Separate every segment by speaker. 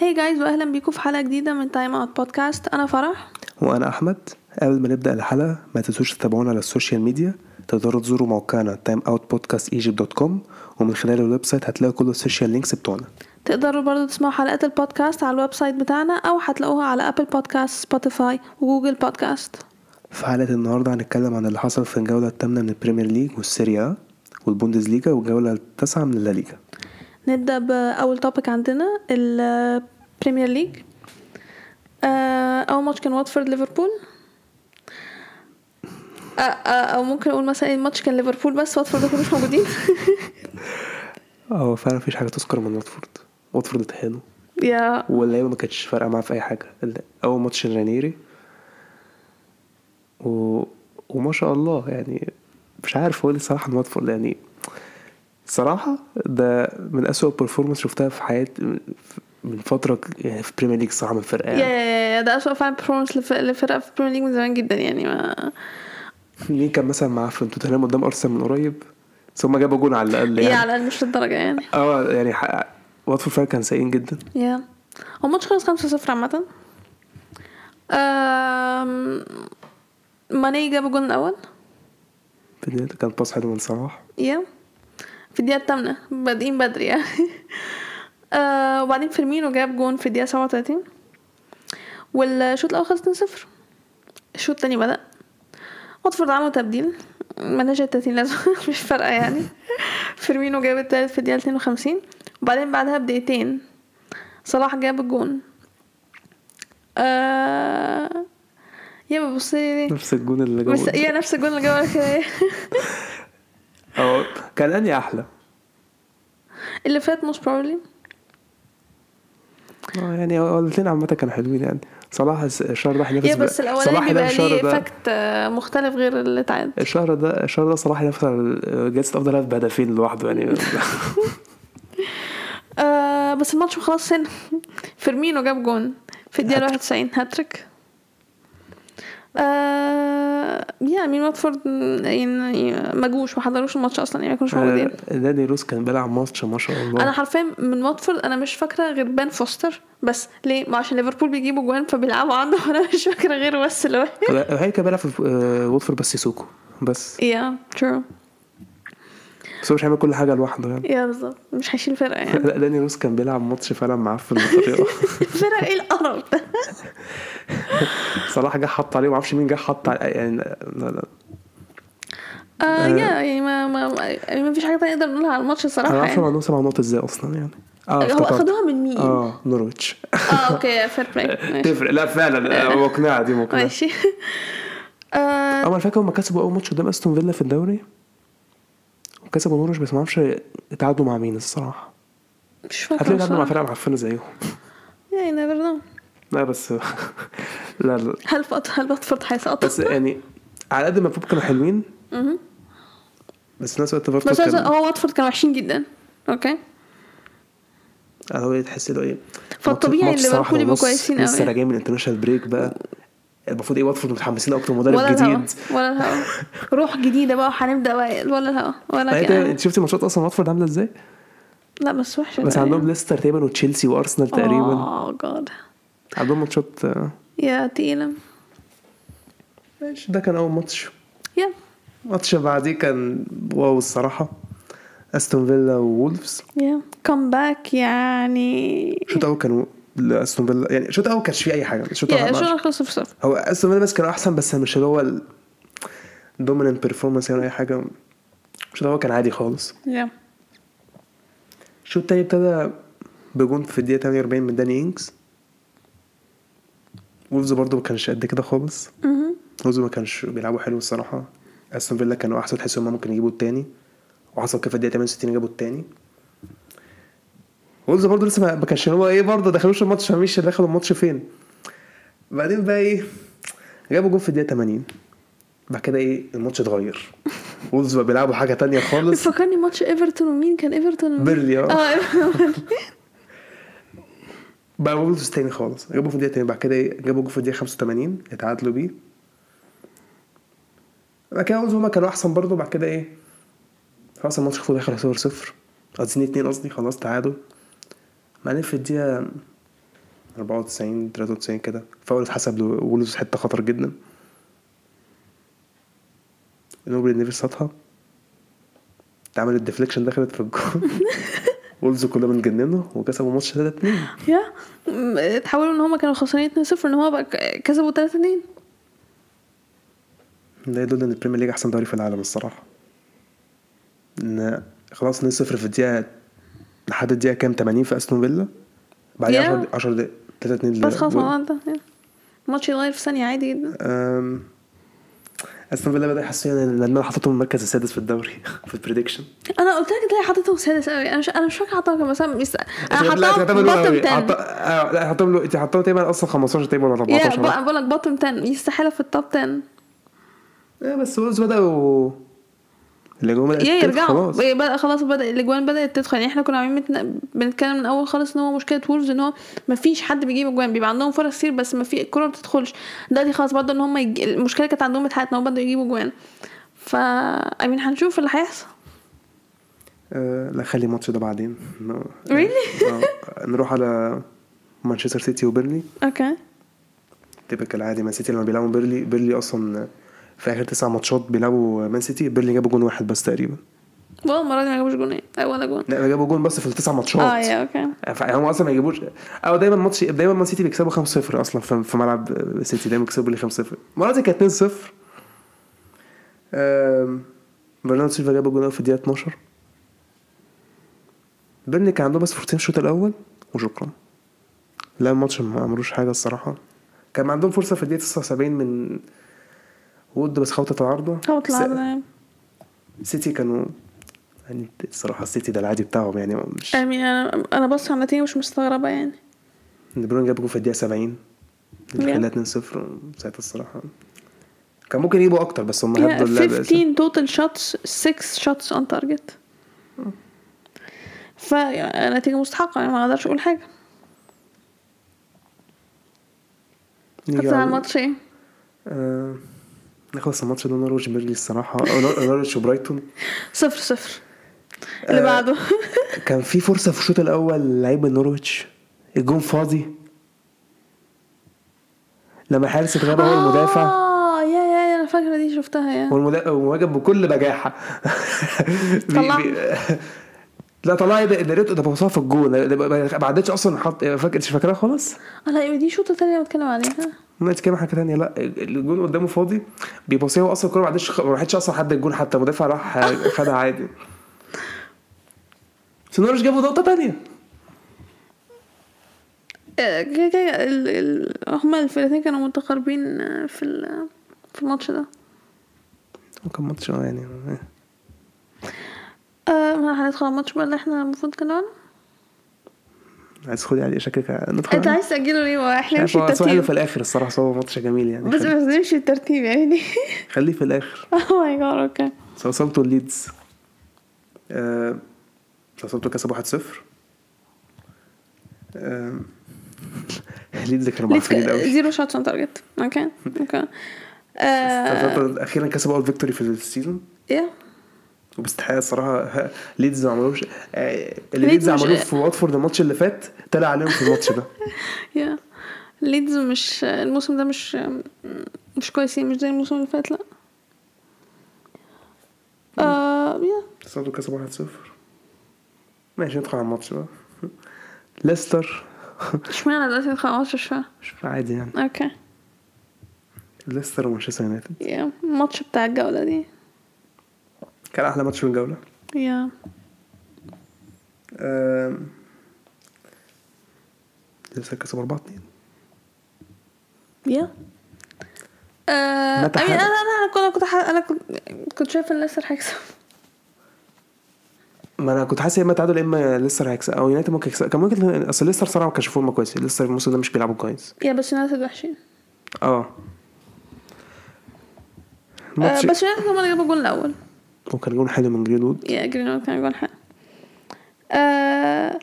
Speaker 1: هاي جايز واهلا بيكم في حلقه جديده من تايم اوت بودكاست انا فرح
Speaker 2: وانا احمد قبل ما نبدا الحلقه ما تنسوش تتابعونا على السوشيال ميديا تقدروا تزوروا موقعنا timeoutpodcastegypt.com ومن خلال الويب سايت هتلاقوا كل السوشيال لينكس بتوعنا
Speaker 1: تقدروا برضو تسمعوا حلقات البودكاست على الويب سايت بتاعنا او هتلاقوها على ابل بودكاست سبوتيفاي وجوجل بودكاست
Speaker 2: في حلقه النهارده هنتكلم عن اللي حصل في الجوله الثامنه من البريمير ليج والسيريا والبوندسليجا والجوله التاسعه من الليجا
Speaker 1: نبدا باول توبيك عندنا البريمير ليج آه، اول ماتش كان واتفورد ليفربول آه، آه، او ممكن اقول مثلا الماتش كان ليفربول بس واتفورد دول مش موجودين
Speaker 2: هو اه، فعلا مفيش حاجه تذكر من واتفورد واتفورد اتهانوا
Speaker 1: يا
Speaker 2: واللعيبه ما كانتش فارقه معاه في اي حاجه ال- اول ماتش رانيري و... وما شاء الله يعني مش عارف هو ليه صراحه عن واتفورد يعني صراحه ده من أسوأ performance شفتها في حياتي من فتره ك- يعني في بريمير ليج صراحه من فرقه
Speaker 1: يا
Speaker 2: يعني.
Speaker 1: يا- يا ده اسوء فعلا performance لف- لفرقه في البريمير ليج من زمان جدا يعني ما
Speaker 2: مين كان مثلا معاه في توتنهام قدام ارسنال من قريب بس هما جابوا جون على الاقل
Speaker 1: يعني
Speaker 2: يعني
Speaker 1: على الاقل مش للدرجه يعني
Speaker 2: اه يعني ح- واتفورد فعلا كان سيئين جدا
Speaker 1: يا هو الماتش خلص 5 0 عامة آم، ماني جاب الجون الأول
Speaker 2: في النهاية كان باص حلو من صلاح
Speaker 1: يا في الدقيقة الثامنة بادئين بدري يعني آه، وبعدين فيرمينو جاب جون في الدقيقة 37 والشوط الأول خلص 2 0 الشوط التاني بدأ واتفورد عملوا تبديل ملهاش أي 30 لازمة مش فارقة يعني فيرمينو جاب التالت في الدقيقة 52 وبعدين بعدها بدقيقتين صلاح جاب الجون آه يا بصي ليه
Speaker 2: نفس الجون اللي
Speaker 1: بس
Speaker 2: جابه
Speaker 1: يا نفس الجون اللي جابه كده
Speaker 2: اه كان اني احلى
Speaker 1: اللي فات most probably
Speaker 2: اه يعني هو الاثنين عامة كانوا حلوين يعني صلاح الس- الشهر ده هينافس
Speaker 1: يا
Speaker 2: بقى-
Speaker 1: بس الاولاني بيبقى ليه
Speaker 2: الشهر ده
Speaker 1: افكت مختلف غير اللي اتعاد
Speaker 2: الشهر ده الشهر ده صلاح هينافس على جائزة أفضل لاعب بهدفين لوحده يعني أه،
Speaker 1: آه بس الماتش خلاص هنا فيرمينو جاب جون في الدقيقه 91 هاتريك آه يا مين واتفورد يعني ما جوش ما حضروش الماتش اصلا يعني ما كانوش موجودين
Speaker 2: آه، داني روز كان بيلعب ماتش ما شاء الله
Speaker 1: انا حرفيا من واتفورد انا مش فاكره غير بان فوستر بس ليه ما عشان ليفربول بيجيبوا جوان فبيلعبوا عنده وانا مش فاكره غيره بس اللي واحد
Speaker 2: لا، هي كان بيلعب في آه، واتفورد بس سيسوكو بس
Speaker 1: يا ترو
Speaker 2: بس هو مش هيعمل كل حاجة لوحده يعني
Speaker 1: يا بالظبط مش هيشيل فرقه يعني
Speaker 2: لا داني روز كان بيلعب ماتش فعلا معفن بطريقة
Speaker 1: فرقه ايه القرف ده
Speaker 2: صلاح جه حط عليه معرفش مين جه حط عليه يعني لا لا
Speaker 1: آه يا يعني ما ما ما- يعني ما فيش حاجه تانية نقدر نقولها على الماتش
Speaker 2: انا
Speaker 1: الصراحه
Speaker 2: معرفش
Speaker 1: يعني.
Speaker 2: هو وصل على النقطة ازاي اصلا يعني اه
Speaker 1: هو
Speaker 2: افتكرت.
Speaker 1: اخدوها من مين؟ آه، اه,
Speaker 2: اه نورويتش
Speaker 1: اوكي فير بلاي
Speaker 2: تفرق لا فعلا آه، مقنعة دي مقنعة
Speaker 1: ماشي آه،
Speaker 2: اول فاكر هما كسبوا اول ماتش قدام استون فيلا في الدوري وكسبوا نورش بس ما اعرفش اتعادلوا مع مين الصراحه
Speaker 1: مش
Speaker 2: هتلاقي اتعادلوا مع
Speaker 1: فاكره
Speaker 2: فرقه معفنه زيهم
Speaker 1: يعني نيفر نو
Speaker 2: لا بس لا لا
Speaker 1: هل فط- هل واتفورد هيسقط
Speaker 2: بس يعني على قد ما بوب كانوا حلوين
Speaker 1: مهم.
Speaker 2: بس في نفس الوقت برضه
Speaker 1: بس بس
Speaker 2: كان
Speaker 1: هو واتفورد كانوا وحشين جدا اوكي
Speaker 2: هو تحس انه ايه
Speaker 1: فالطبيعي
Speaker 2: ماتش صلاح
Speaker 1: ليفربول يبقوا
Speaker 2: ونص،
Speaker 1: كويسين أوي.
Speaker 2: لسه راجعين من الانترناشونال بريك بقى المفروض ايه واتفورد متحمسين اكتر مدرب
Speaker 1: ولا الهوا
Speaker 2: جديد
Speaker 1: ولا الهوا روح جديده بقى وهنبدا بقى ولا الهوا ولا
Speaker 2: يعني
Speaker 1: كده
Speaker 2: انت شفتي ماتشات اصلا واتفورد عامله ازاي؟
Speaker 1: لا بس وحشه
Speaker 2: بس
Speaker 1: بقى
Speaker 2: عندهم
Speaker 1: يعني.
Speaker 2: ليستر تقريبا وتشيلسي وارسنال تقريبا
Speaker 1: اه جاد
Speaker 2: عندهم ماتشات آه،
Speaker 1: يا تقيله
Speaker 2: ماشي ده كان اول ماتش
Speaker 1: يا
Speaker 2: ماتش بعديه كان واو الصراحة استون فيلا وولفز
Speaker 1: يا كم باك يعني
Speaker 2: الشوط الاول كان استون فيلا يعني الشوط الاول كانش فيه اي حاجة الشوط
Speaker 1: يا
Speaker 2: الاول ما-
Speaker 1: شو خلص صفر صفر
Speaker 2: هو استون فيلا بس كانوا احسن بس مش اللي هو الدوميننت بيرفورمانس يعني اي حاجة الشوط الاول كان عادي خالص
Speaker 1: يا
Speaker 2: الشوط التاني ابتدى بجون في الدقيقة 48 من داني انكس وولفز برضه ما كانش قد كده خالص
Speaker 1: مهم.
Speaker 2: وولفز ما كانش بيلعبوا حلو الصراحة استون فيلا كانوا احسن تحس ان هم ممكن يجيبوا التاني وحصل كده في الدقيقة 68 جابوا التاني وولفز برضه لسه ما ما كانش هو ايه برضه دخلوش الماتش فمش دخلوا الماتش فين بعدين بقى ايه جابوا جول في الدقيقة 80 بعد كده ايه الماتش اتغير وولفز بقى بيلعبوا حاجة تانية خالص
Speaker 1: بتفكرني ماتش ايفرتون ومين كان ايفرتون ومين؟
Speaker 2: بيرلي اه
Speaker 1: اه إيفرتون.
Speaker 2: بقى وولفز تاني خالص جابوا في الدقيقة تاني بعد كده ايه جابوا جول في الدقيقة 85 اتعادلوا بيه بعد كده وولفز هما كانوا أحسن برضه بعد كده ايه خلاص الماتش المفروض داخل 0 0 قصدي 2 2 قصدي خلاص تعادل بعدين في الدقيقة 94 93 كده فاول اتحسب لولفز حته خطر جدا نوبل نيفيس صدها اتعمل الديفليكشن دخلت في الجول وولفز كلهم اتجننوا وكسبوا الماتش 3 2
Speaker 1: يا م- اتحولوا ان هما كانوا خسرانين 2-0 ان هما بقى ك- كسبوا 3-2
Speaker 2: ده يدل ان البريمير ليج احسن دوري في العالم الصراحه ان خلاص 2 0 في الدقيقه لحد الدقيقه كام 80 في استون فيلا بعديها
Speaker 1: Yeah.
Speaker 2: 10 10 دقائق 3 2
Speaker 1: بس خلاص الموضوع انتهى يلا. الماتش يتغير في ثانية عادي جدا
Speaker 2: أم، استون فيلا بدا يحسوا يعني لان انا حطيتهم المركز السادس في الدوري في البريدكشن
Speaker 1: انا قلت لك تلاقي حطيتهم سادس قوي انا مش انا مش فاكره حطيتهم كام بس انا مس- انا حطيتهم بوتم 10
Speaker 2: آه، لا حطيتهم له انت حطيتهم تقريبا اصلا 15 تقريبا ولا
Speaker 1: يا
Speaker 2: 14
Speaker 1: بقول لك بوتم 10 يستحاله في التوب 10
Speaker 2: آه، بس وولز بداوا الهجوم بدأت
Speaker 1: يا
Speaker 2: تدخل
Speaker 1: يرجعوا
Speaker 2: خلاص
Speaker 1: إيه بدا خلاص بدا الاجوان بدات تدخل يعني احنا كنا عاملين متن- بنتكلم من الاول خالص ان هو مشكله وولفز ان هو ما فيش حد بيجيب اجوان بيبقى عندهم فرص كتير بس ما في الكوره ما بتدخلش دلوقتي خلاص بدأوا ان هم يج... المشكله كانت عندهم اتحققت ان هم بدأوا يجيبوا اجوان فا I mean هنشوف اللي هيحصل
Speaker 2: آه، لا خلي الماتش ده بعدين no.
Speaker 1: Really؟
Speaker 2: آه، نروح على مانشستر سيتي وبيرلي
Speaker 1: اوكي
Speaker 2: تيبيكال عادي مان سيتي لما بيلعبوا بيرلي بيرلي اصلا في اخر تسع ماتشات بيلعبوا مان سيتي بيرلي جابوا جون واحد بس تقريبا
Speaker 1: والله المره دي ما جابوش جونين أي ولا جون
Speaker 2: لا جابوا جون بس في التسع ماتشات
Speaker 1: اه يا اوكي
Speaker 2: هم اصلا ما يجيبوش او دايما ماتش دايما مان سيتي بيكسبوا 5-0 اصلا في في ملعب سيتي دايما بيكسبوا لي 5-0 المره دي كانت 2-0 آم، برناردو سيلفا جاب جون في الدقيقه 12 بيرني كان عنده بس فرصتين الشوط الاول وشكرا لا الماتش ما عملوش حاجه الصراحه كان عندهم فرصه في الدقيقه 79 من وود بس خبطت العارضه
Speaker 1: هو طلع
Speaker 2: س-
Speaker 1: ده.
Speaker 2: سيتي كانوا يعني الصراحه السيتي ده العادي بتاعهم يعني مش
Speaker 1: I mean انا انا بص على النتيجه مش مستغربه يعني
Speaker 2: دي بروين جاب جول في الدقيقة 70 اللي
Speaker 1: Yeah.
Speaker 2: خلاها 2 0 ساعتها الصراحة كان ممكن يجيبوا أكتر بس هم
Speaker 1: Yeah,
Speaker 2: هدوا اللعبة
Speaker 1: 15 total shots 6 shots on target فنتيجة مستحقة يعني ما اقدرش اقول حاجة
Speaker 2: نيجي
Speaker 1: حتى على
Speaker 2: على-
Speaker 1: الماتش ايه
Speaker 2: آه، نخلص الماتش ده نورويتش بيرلي الصراحة أو نور- نورويتش وبرايتون
Speaker 1: صفر صفر اللي
Speaker 2: آه.
Speaker 1: بعده
Speaker 2: كان في فرصة في الشوط الأول لعيب من نورويتش الجون فاضي لما حارس اتغابى هو المدافع
Speaker 1: اه يا يا يا انا فاكرة دي شفتها يا
Speaker 2: والمدا- والمهاجم بكل بجاحه بي-
Speaker 1: طلع.
Speaker 2: بي- لا طلع ده ده ريت- ده بوصها في الجون ده ما ما عدتش اصلا حط فاكر مش فاكرها خالص
Speaker 1: آه، لا دي شوطة تانية بتكلم عليها
Speaker 2: ما كام حاجه ثانيه لا الجون قدامه فاضي بيبصيها هو اصلا الكوره ما عدتش خ- ما راحتش اصلا حد الجون حتى المدافع راح خدها عادي بس نورش جابوا نقطه ثانيه
Speaker 1: آه، كده كده ال- ال- هما الفرقتين كانوا متقاربين آه، في ال- في الماتش ده
Speaker 2: كان ماتش آه يعني
Speaker 1: آه، هندخل على الماتش بقى اللي احنا المفروض كنا عنه
Speaker 2: عايز خدي عليه شكلك آه، ندخل
Speaker 1: انت
Speaker 2: عليه.
Speaker 1: عايز تأجله ليه ما
Speaker 2: مش
Speaker 1: احنا
Speaker 2: عارف،
Speaker 1: نمشي
Speaker 2: آه، هو أصل حلو
Speaker 1: الترتيب
Speaker 2: في الاخر الصراحه بس هو ماتش جميل يعني
Speaker 1: بس
Speaker 2: خليه-
Speaker 1: بس نمشي الترتيب يعني
Speaker 2: خليه في الاخر
Speaker 1: اوه ماي جاد اوكي
Speaker 2: ساوثامبتون ليدز آه، ساوثامبتون كسب 1-0 آه، ليدز كانوا معفنين قوي
Speaker 1: زيرو شوتس اون تارجت اوكي اوكي Uh,
Speaker 2: ساوثامبتون اخيرا كسبوا اول فيكتوري في السيزون
Speaker 1: يا
Speaker 2: وباستحقاق الصراحه ها، ليدز ما عملوش آه، اللي
Speaker 1: ليدز
Speaker 2: ليدز
Speaker 1: مش-
Speaker 2: عملوه في واتفورد الماتش اللي فات طلع عليهم في الماتش ده
Speaker 1: يا ليدز مش الموسم ده مش مش كويسين مش زي الموسم اللي فات لا آه، يا
Speaker 2: ساوثامبتون كسبوا 1-0 ماشي ندخل على الماتش بقى ليستر
Speaker 1: اشمعنى دلوقتي ندخل على الماتش مش فاهم
Speaker 2: مش عادي يعني
Speaker 1: اوكي
Speaker 2: ليستر ومانشستر يونايتد
Speaker 1: يا الماتش بتاع الجولة دي
Speaker 2: كان احلى ماتش في الجوله
Speaker 1: يا
Speaker 2: آم، لسه كسب 4 2
Speaker 1: يا آه،
Speaker 2: متى
Speaker 1: I mean،
Speaker 2: حدث؟
Speaker 1: انا انا انا كنت ح- انا كنت كنت شايفه ان ليستر هيكسب
Speaker 2: ما انا كنت حاسس يا اما تعادل يا اما ليستر هيكسب او يونايتد ممكن يكسب كان ممكن اصل ليستر صراحه ما كانش في فورمه كويسه ليستر الموسم ده مش بيلعبوا كويس
Speaker 1: يا بس يونايتد وحشين
Speaker 2: اه
Speaker 1: آه،
Speaker 2: ماتش
Speaker 1: بس يونايتد هم اللي جابوا الجول الاول
Speaker 2: وكان جون حلو من جرينوود
Speaker 1: يا جرينوود كان جون حلو آه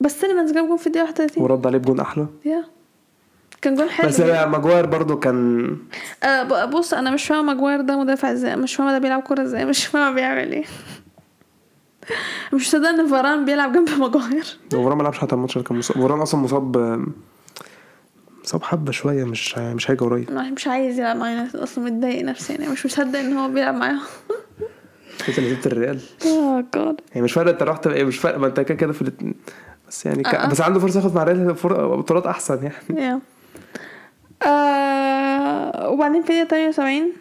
Speaker 1: بس سيليفانز جاب جون في الدقيقة 31
Speaker 2: ورد عليه بجون احلى
Speaker 1: يا كان جون إيه. حلو
Speaker 2: بس لا، ماجواير برضو كان
Speaker 1: آه ب- بص انا مش فاهمة ماجواير ده مدافع ازاي مش فاهمة ده بيلعب كورة ازاي مش فاهمة بيعمل ايه مش مصدقة ان فاران بيلعب جنب ماجواير
Speaker 2: وران ما لعبش حتى الماتش ده كان مصاب وران اصلا مصاب آم، طب حبه شويه مش مش هيجي قريب
Speaker 1: الواحد مش عايز يلعب معايا نفسي اصلا متضايق نفسيا يعني مش مصدق ان هو بيلعب معاهم
Speaker 2: انت اللي جبت الريال
Speaker 1: اه جاد
Speaker 2: يعني مش فارقه انت رحت إيه، مش فارقه ما انت كده كده في الاتنين. بس يعني ك...
Speaker 1: آه.
Speaker 2: بس عنده فرصه ياخد مع الريال فر- بطولات احسن يعني
Speaker 1: يا آه، Uh, وبعدين في دقيقة 78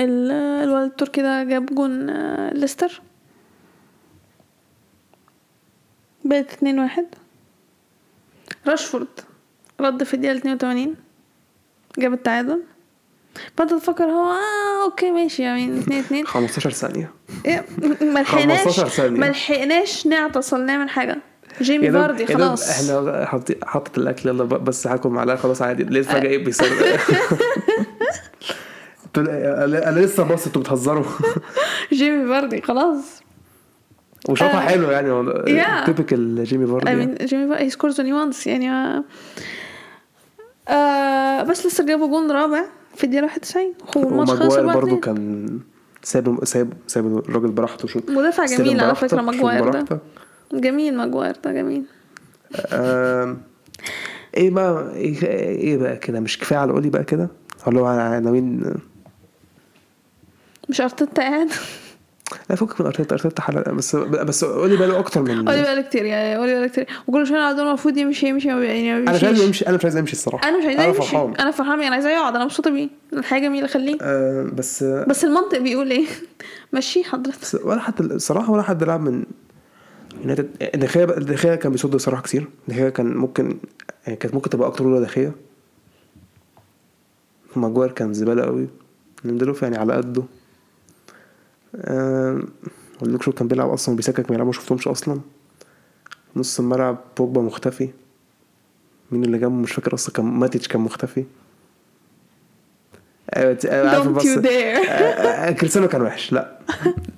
Speaker 1: ال- الولد التركي ده جاب جون آه، ليستر بقت اتنين واحد راشفورد رد في الدقيقة اتنين وتمانين جاب التعادل فانت تفكر هو اه اوكي ماشي يعني اتنين اتنين
Speaker 2: 15 ثانيه
Speaker 1: إيه، ما لحقناش
Speaker 2: 15 ثانية. إيه
Speaker 1: ما لحقناش نعتصل نعمل حاجة
Speaker 2: يا
Speaker 1: جيمي
Speaker 2: دوب-
Speaker 1: فاردي
Speaker 2: يا دوب
Speaker 1: خلاص
Speaker 2: احنا حاطط- حاطط الاكل يلا ب- بس هاكل معلقه خلاص عادي ليه فجاه
Speaker 1: أه.
Speaker 2: ايه بيصير أنتوا- انا أنا لسه باص انتوا بتهزروا
Speaker 1: جيمي فاردي خلاص
Speaker 2: وشاطها
Speaker 1: آه.
Speaker 2: حلو يعني
Speaker 1: Yeah.
Speaker 2: تيبيكال جيمي
Speaker 1: I
Speaker 2: فاردي
Speaker 1: mean جيمي فاردي سكورز اونلي وانس يعني ما... آه بس لسه جابوا جون رابع في الدقيقة 91 هو الماتش خلص
Speaker 2: وماجواير برضو
Speaker 1: 4-2.
Speaker 2: كان ساب ساب ساب الراجل براحته شوط
Speaker 1: مدافع
Speaker 2: استلم
Speaker 1: جميل على
Speaker 2: براحته،
Speaker 1: فكرة
Speaker 2: شوط
Speaker 1: ماجواير ده
Speaker 2: براحته.
Speaker 1: جميل ماجواير ده جميل
Speaker 2: آم، ايه بقى ايه, إيه بقى كده مش كفايه على قولي بقى كده ولا هو عناوين
Speaker 1: مش ارتيتا قاعد
Speaker 2: لا فكك من ارتيتا ارتيتا حلقه بس بس قولي بقى له اكتر من
Speaker 1: اولي بقى كتير يعني اولي بقى كتير وكل شويه نقعد نقول المفروض يمشي يمشي ما بي- يعني ما
Speaker 2: انا مش عايز
Speaker 1: بيمشيش
Speaker 2: امشي انا مش عايز امشي الصراحه
Speaker 1: انا مش عايزاه يمشي
Speaker 2: فرحان
Speaker 1: انا فرحان بيه انا عايزاه يقعد انا مبسوطه بيه الحاجه جميله خليه
Speaker 2: آه، بس
Speaker 1: بس المنطق بيقول ايه مشيه حضرتك
Speaker 2: بس ولا حد الصراحه ولا حد لعب من يونايتد دخيا بقى- دخيا كان بيصد صراحه كتير دخيا كان ممكن يعني كانت ممكن تبقى اكتر ولا دخيا ماجوار كان زباله قوي ليندلوف يعني على قده آم، ولوكشو كان بيلعب اصلا بيسكك ما يلعب ما شفتهمش اصلا نص الملعب بوجبا مختفي مين اللي جنبه مش فاكر اصلا كان ماتيتش كان مختفي آه، آه، عارف
Speaker 1: Don't
Speaker 2: الباص-
Speaker 1: you dare.
Speaker 2: آه، آه، آه، كريستيانو كان وحش لا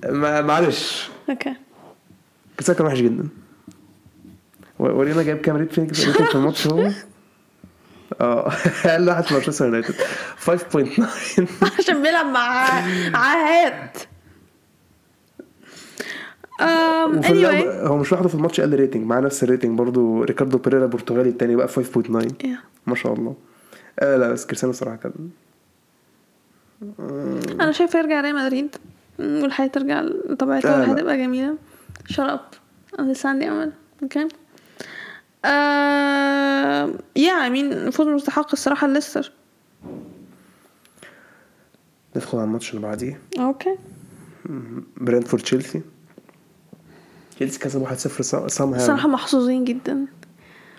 Speaker 2: ما- معلش
Speaker 1: اوكي
Speaker 2: كساكا كان وحش جدا و- ورينا جايب كام ريت فينيكس ريتنج في الماتش هو اه اقل واحد في مانشستر يونايتد 5.9
Speaker 1: عشان بيلعب مع عاهات um,
Speaker 2: وفي
Speaker 1: anyway
Speaker 2: اللعبة- هو مش لوحده في الماتش قال ريتنج معاه نفس الريتنج برضه ريكاردو بيريرا البرتغالي التاني بقى 5.9
Speaker 1: yeah.
Speaker 2: ما شاء الله آه لا بس كريستيانو صراحه كان
Speaker 1: انا شايفه يرجع ريال مدريد م، والحياه ترجع
Speaker 2: لا،
Speaker 1: لطبيعتها
Speaker 2: لا.
Speaker 1: هتبقى جميله shut up انا لسه عندي امل اوكي آه يا مين فوز مستحق الصراحه ليستر
Speaker 2: ندخل على الماتش اللي بعديه
Speaker 1: اوكي
Speaker 2: برينتفورد تشيلسي تشيلسي كسب 1-0
Speaker 1: صراحه
Speaker 2: سام- somehow
Speaker 1: محظوظين جدا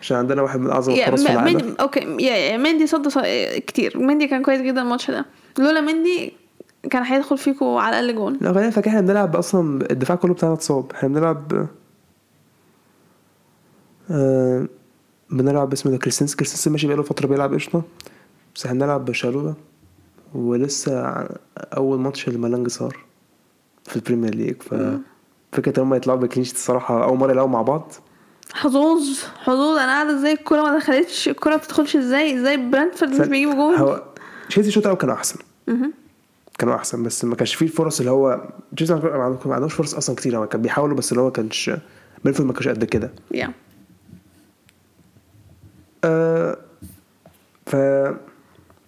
Speaker 2: عشان عندنا واحد من اعظم
Speaker 1: يا
Speaker 2: الحراس في
Speaker 1: ما-
Speaker 2: العالم
Speaker 1: مندي اوكي يا يا مندي صد ص- كتير مندي كان كويس جدا الماتش ده لولا مندي كان هيدخل فيكو على الاقل جون
Speaker 2: لا خلينا فاكر احنا بنلعب اصلا الدفاع كله بتاعنا اتصاب احنا بنلعب آه بنلعب اسمه ده كريستنس كريستنس ماشي بقاله فتره بيلعب قشطه بس احنا بنلعب بشالوبا ولسه ع- اول ماتش لمالانج صار في البريمير ليج ف فكره ان هم يطلعوا بكلين شيت الصراحه اول مره يلعبوا مع بعض
Speaker 1: حظوظ حظوظ انا قاعده ازاي الكوره ما دخلتش الكوره ما بتدخلش ازاي ازاي برنتفورد مش بيجيبوا جون
Speaker 2: هو تشيلسي الشوط الاول كانوا احسن كانوا احسن بس ما كانش فيه الفرص اللي هو تشيلسي ما عندهمش- ما عندهمش فرص اصلا كتير هو كان بيحاولوا بس اللي هو كانش بينفورد ما كانش قد كده
Speaker 1: يا
Speaker 2: آه، ف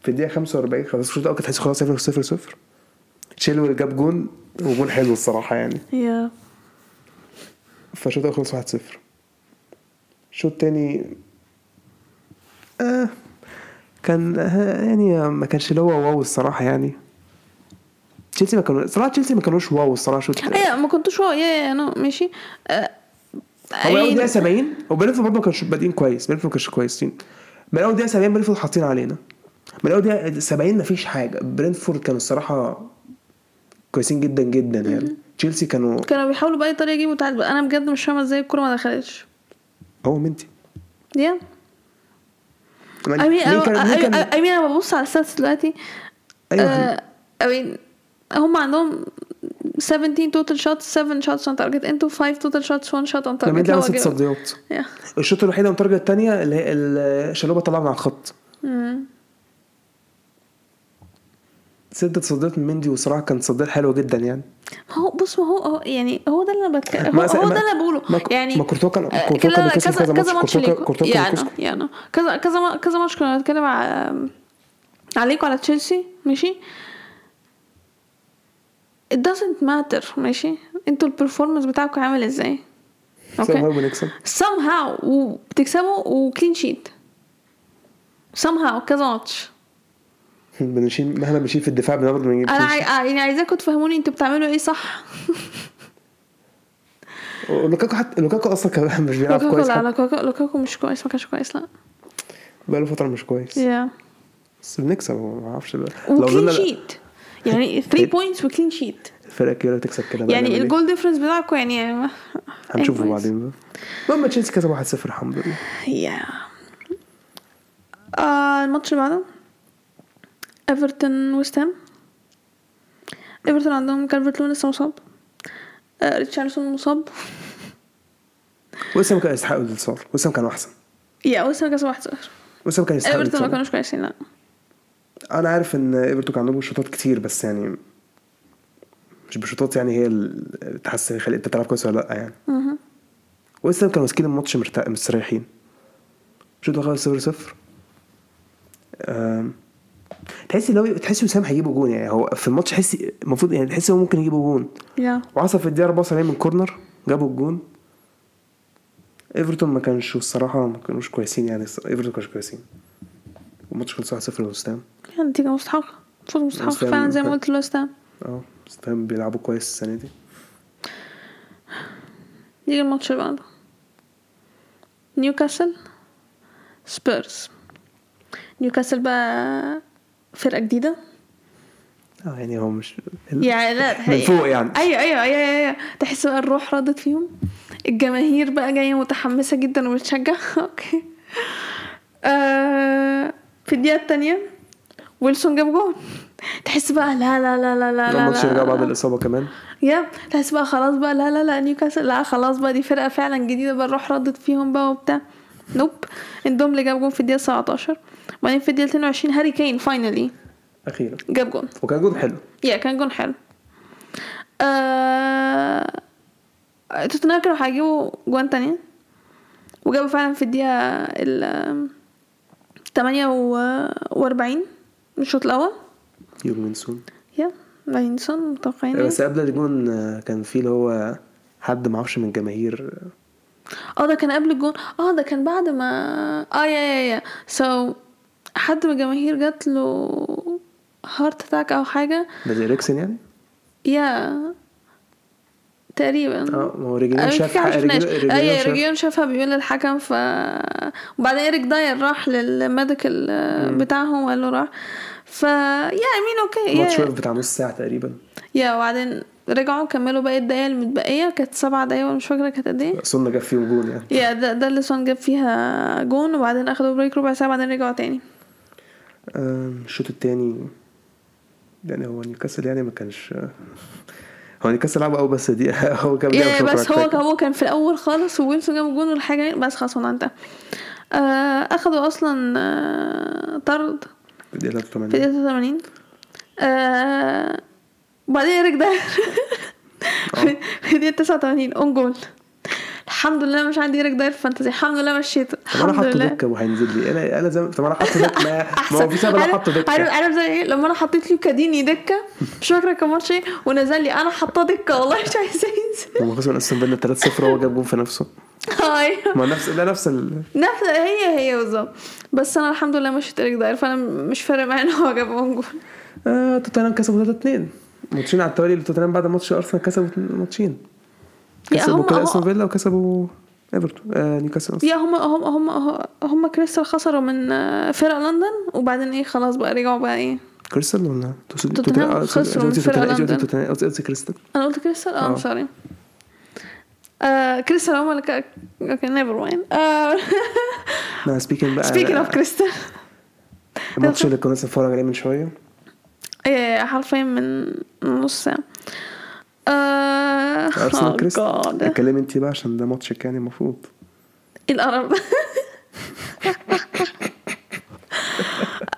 Speaker 2: في الدقيقة 45 خلاص الشوط الأول كنت تحس خلاص 0 0 0 تشيلويل جاب جون وجون حلو الصراحة يعني
Speaker 1: يا
Speaker 2: فالشوط الأول خلص 1 0 الشوط التاني آه كان آه، يعني ما كانش اللي هو واو الصراحة يعني تشيلسي ما كانوا صراحة تشيلسي ما كانوش واو الصراحة شوط
Speaker 1: ايوه ما كنتش واو يا يا نو ماشي آه،
Speaker 2: هو من اول دقيقه
Speaker 1: أي-
Speaker 2: 70 وبرينفورد برضه ما كانش بادئين كويس برينفورد ما كانش كويسين من اول دقيقه 70 برينفورد حاطين علينا من اول دقيقه 70 ما فيش حاجه برينفورد كانوا الصراحه كويسين جدا جدا يعني تشيلسي كانوا
Speaker 1: كانوا بيحاولوا باي طريقه يجيبوا تعادل انا بجد مش فاهمه ازاي الكوره ما دخلتش
Speaker 2: هو منتي
Speaker 1: يا
Speaker 2: يعني
Speaker 1: I mean,
Speaker 2: مين كان مين
Speaker 1: I-
Speaker 2: كان
Speaker 1: I- I mean انا ببص على الساتس دلوقتي آه،
Speaker 2: ايوه
Speaker 1: أوي هم عندهم 17 توتال شوتس 7 شوتس اون تارجت انتوا 5 توتال شوتس 1 شوت اون
Speaker 2: لما انت عمل ست
Speaker 1: تارجت
Speaker 2: تصديات الشوط الوحيد من التارجت الثانيه اللي هي ال- شالوبا طلعنا على الخط سدة تصديات من مندي وصراحة كان تصديات حلوة جدا يعني
Speaker 1: ما هو بص ما هو هو يعني هو ده اللي انا بتك... هو,
Speaker 2: ما س-
Speaker 1: هو
Speaker 2: ما-
Speaker 1: ده اللي بقوله
Speaker 2: ما ك-
Speaker 1: يعني
Speaker 2: ما كورتوا كان-
Speaker 1: آه،
Speaker 2: كورتوا كان
Speaker 1: كذا-
Speaker 2: بيكسب
Speaker 1: كذا- كذا
Speaker 2: كذا ماتش.
Speaker 1: ماتش
Speaker 2: كورتوا كان-
Speaker 1: ليكو.
Speaker 2: كورتوا كان
Speaker 1: يعني
Speaker 2: بيكسب.
Speaker 1: يعني كذا كذا ما- كذا ماتش كنا بنتكلم على عليكوا على تشيلسي ماشي it doesn't matter ماشي انتوا البرفورمانس بتاعكم عامل ازاي
Speaker 2: سام هاو بنكسب
Speaker 1: somehow وبتكسبوا وكلين شيت somehow كذا ماتش
Speaker 2: بنشيل مهما بنشيل في الدفاع بنقدر بنجيب
Speaker 1: انا
Speaker 2: فيش.
Speaker 1: عاي... يعني عايزاكم تفهموني انتوا بتعملوا ايه صح
Speaker 2: لوكاكو حتى لوكاكو اصلا كان مش بيلعب
Speaker 1: لوكاكو
Speaker 2: كويس
Speaker 1: لا
Speaker 2: حتى.
Speaker 1: لوكاكو لوكاكو مش كويس ما كانش كويس لا
Speaker 2: بقاله فترة مش كويس
Speaker 1: yeah.
Speaker 2: بس بنكسب هو ما اعرفش بقى. لو
Speaker 1: وكلين
Speaker 2: فضلنا
Speaker 1: شيت يعني 3 بوينتس وكلين شيت
Speaker 2: الفرقة الكبيرة تكسب كده بقى
Speaker 1: يعني
Speaker 2: نعمل إيه؟
Speaker 1: الجول ديفرنس بتاعكم يعني ما-
Speaker 2: هنشوفه
Speaker 1: anyways.
Speaker 2: بعدين بقى المهم تشيلسي كسب 1-0 الحمد لله
Speaker 1: yeah. آه الماتش اللي بعده ايفرتون ويست هام ايفرتون عندهم كالفرت لون لسه مصاب آه ريتشاردسون مصاب
Speaker 2: وسام كان يستحق الانتصار وسام كان احسن
Speaker 1: يا ويست هام كسبوا 1-0
Speaker 2: وسام كان يستحق
Speaker 1: ايفرتون ما
Speaker 2: الانتصار
Speaker 1: كانوش كويسين لا
Speaker 2: انا عارف ان ايفرتون كان عندهم شوطات كتير بس يعني مش بشوطات يعني هي اللي تحس خلي انت تلعب كويس ولا لا يعني
Speaker 1: مهم.
Speaker 2: وسام كانوا ماسكين الماتش مرتاح مستريحين شوط الأول خلص 0 0 تحس لو تحس وسام هيجيبوا جون يعني هو في الماتش تحس المفروض يعني تحس هو ممكن يجيبوا جون
Speaker 1: يا
Speaker 2: وحصل في الدقيقة 74 من كورنر جابوا الجون ايفرتون ما كانش الصراحة ما كانوش كويسين يعني ايفرتون ما كانوش كويسين الماتش خلص 1-0 لوست هام
Speaker 1: يا نتيجة مستحقة فوز مستحق
Speaker 2: ويست هام-
Speaker 1: فعلا زي ما قلت لوست هام
Speaker 2: اه وست هام بيلعبوا كويس السنة دي
Speaker 1: نيجي الماتش اللي بعده نيوكاسل سبيرز نيوكاسل بقى فرقة جديدة
Speaker 2: اه يعني هو مش
Speaker 1: يعني لا
Speaker 2: من فوق يعني
Speaker 1: ايوه ايوه ايوه ايوه, أيوة. تحس بقى الروح ردت فيهم E الجماهير بقى جاية متحمسة جدا وبتشجع اوكي آه في الدقيقة التانية ويلسون جاب جول تحس بقى لا لا لا لا لا لا
Speaker 2: الماتش رجع
Speaker 1: لا.
Speaker 2: بعد الإصابة كمان
Speaker 1: يا تحس بقى خلاص بقى لا لا لا نيوكاسل لا خلاص بقى دي فرقه فعلا جديده بقى الروح ردت فيهم بقى وبتاع نوب اندوم اللي جاب جون في الدقيقه 19 وبعدين في الدقيقه 22 هاري كين فاينلي
Speaker 2: أخيرا
Speaker 1: جاب جون
Speaker 2: وكان جون حلو
Speaker 1: يا كان جون حلو آه... توتنهام كانوا هيجيبوا جوان تانية وجابوا فعلا في الدقيقة ال 48 من الشوط الأول
Speaker 2: يوجنسون
Speaker 1: يا لاينسون متوقعين إيه؟
Speaker 2: بس قبل الجون آه، كان في اللي هو حد ما اعرفش من الجماهير آه،
Speaker 1: اه ده كان قبل الجون اه ده كان بعد ما اه يا يا يا سو حد من الجماهير جات له هارت اتاك او حاجه
Speaker 2: ده زي اريكسن يعني
Speaker 1: يا تقريبا
Speaker 2: اه ما هو
Speaker 1: أنا
Speaker 2: ريجيون
Speaker 1: مش
Speaker 2: شاف
Speaker 1: فاكرة،
Speaker 2: حق-
Speaker 1: مشفناش.
Speaker 2: ريجيون-
Speaker 1: آه، يا
Speaker 2: شاف-
Speaker 1: ريجيون شافها بيقول للحكم ف وبعدين ايريك داير راح للميديكال آه، بتاعهم وقال له راح ف يا مين اوكي
Speaker 2: ماتش
Speaker 1: يا
Speaker 2: واقف بتاع نص ساعة تقريبا
Speaker 1: يا وبعدين رجعوا كملوا باقي الدقايق المتبقيه كانت سبع دقايق ولا مش فاكره كانت قد ايه
Speaker 2: سنة جاب فيهم جون يعني
Speaker 1: يا ده, ده اللي سون جاب فيها جون وبعدين اخدوا بريك ربع ساعه بعدين رجعوا تاني
Speaker 2: آم، آه، الشوط التاني يعني هو نيوكاسل يعني ما كانش آه، هو نيوكاسل لعبوا قوي بس دي هو كان بيعمل
Speaker 1: يا
Speaker 2: شوط
Speaker 1: إيه، بس هو
Speaker 2: ركركة.
Speaker 1: كان هو كان في الاول خالص وويلسون جاب جون والحاجه بس خلاص هو انتهى آه، اخدوا اصلا آه، طرد
Speaker 2: في الدقيقة
Speaker 1: في
Speaker 2: 83
Speaker 1: دقيقه 83 آه، وبعدين ايريك داير في- في دقيقه 89 اون جول الحمد لله مش عندي ايريك داير في فانتزي الحمد لله مشيته
Speaker 2: طب انا
Speaker 1: الحمد
Speaker 2: حاطه
Speaker 1: لله
Speaker 2: دكة وهينزل لي انا انا زم... طب انا حاطه دكة ما- ما هو في سبب انا
Speaker 1: عارف-
Speaker 2: حاطه
Speaker 1: عارف
Speaker 2: دكة
Speaker 1: عارف زي ايه لما انا حطيت لي كاديني دكه مش فاكره كان ماتش ايه ونزل لي انا حاطاه دكه والله مش عايزه ينزل
Speaker 2: لما خسر استون فيلا 3-0 هو جاب جون في نفسه
Speaker 1: أيوة.
Speaker 2: ما نفس ده نفس ال...
Speaker 1: نفس هي هي بالظبط بس انا الحمد لله مشيت ايريك داير فانا مش فارق معايا ان هو جاب اون جول
Speaker 2: آه توتنهام كسبوا 3-2 ماتشين على التوالي توتنهام بعد ماتش ارسنال كسبوا اتنين- ماتشين
Speaker 1: يا
Speaker 2: كسبوا
Speaker 1: هم
Speaker 2: كده استون
Speaker 1: هم
Speaker 2: فيلا وكسبوا ايفرتون آه نيوكاسل
Speaker 1: يا هم هم هم هم كريستال خسروا من آه، فرق لندن وبعدين ايه خلاص بقى رجعوا بقى ايه
Speaker 2: كريستال ولا تقصد-
Speaker 1: توتنهام
Speaker 2: توتنهام-
Speaker 1: خسروا
Speaker 2: قصدي-
Speaker 1: من
Speaker 2: قصدي
Speaker 1: فرقة
Speaker 2: توتنهام-
Speaker 1: لندن.
Speaker 2: توتنهام- قصدي قصدي كريستال
Speaker 1: انا قلت كريستال اه
Speaker 2: آه.
Speaker 1: سوري آه كريستال هم اللي كا- اوكي نيفر مايند
Speaker 2: لا سبيكينج بقى
Speaker 1: سبيكينج اوف آه. كريستال
Speaker 2: الماتش اللي كنا لسه بنتفرج عليه من شويه
Speaker 1: ايه حرفيا من نص ساعة آه
Speaker 2: ارسنال
Speaker 1: oh
Speaker 2: كريستال
Speaker 1: God.
Speaker 2: اتكلمي انت بقى عشان ده ماتشك يعني المفروض
Speaker 1: ايه القرف ده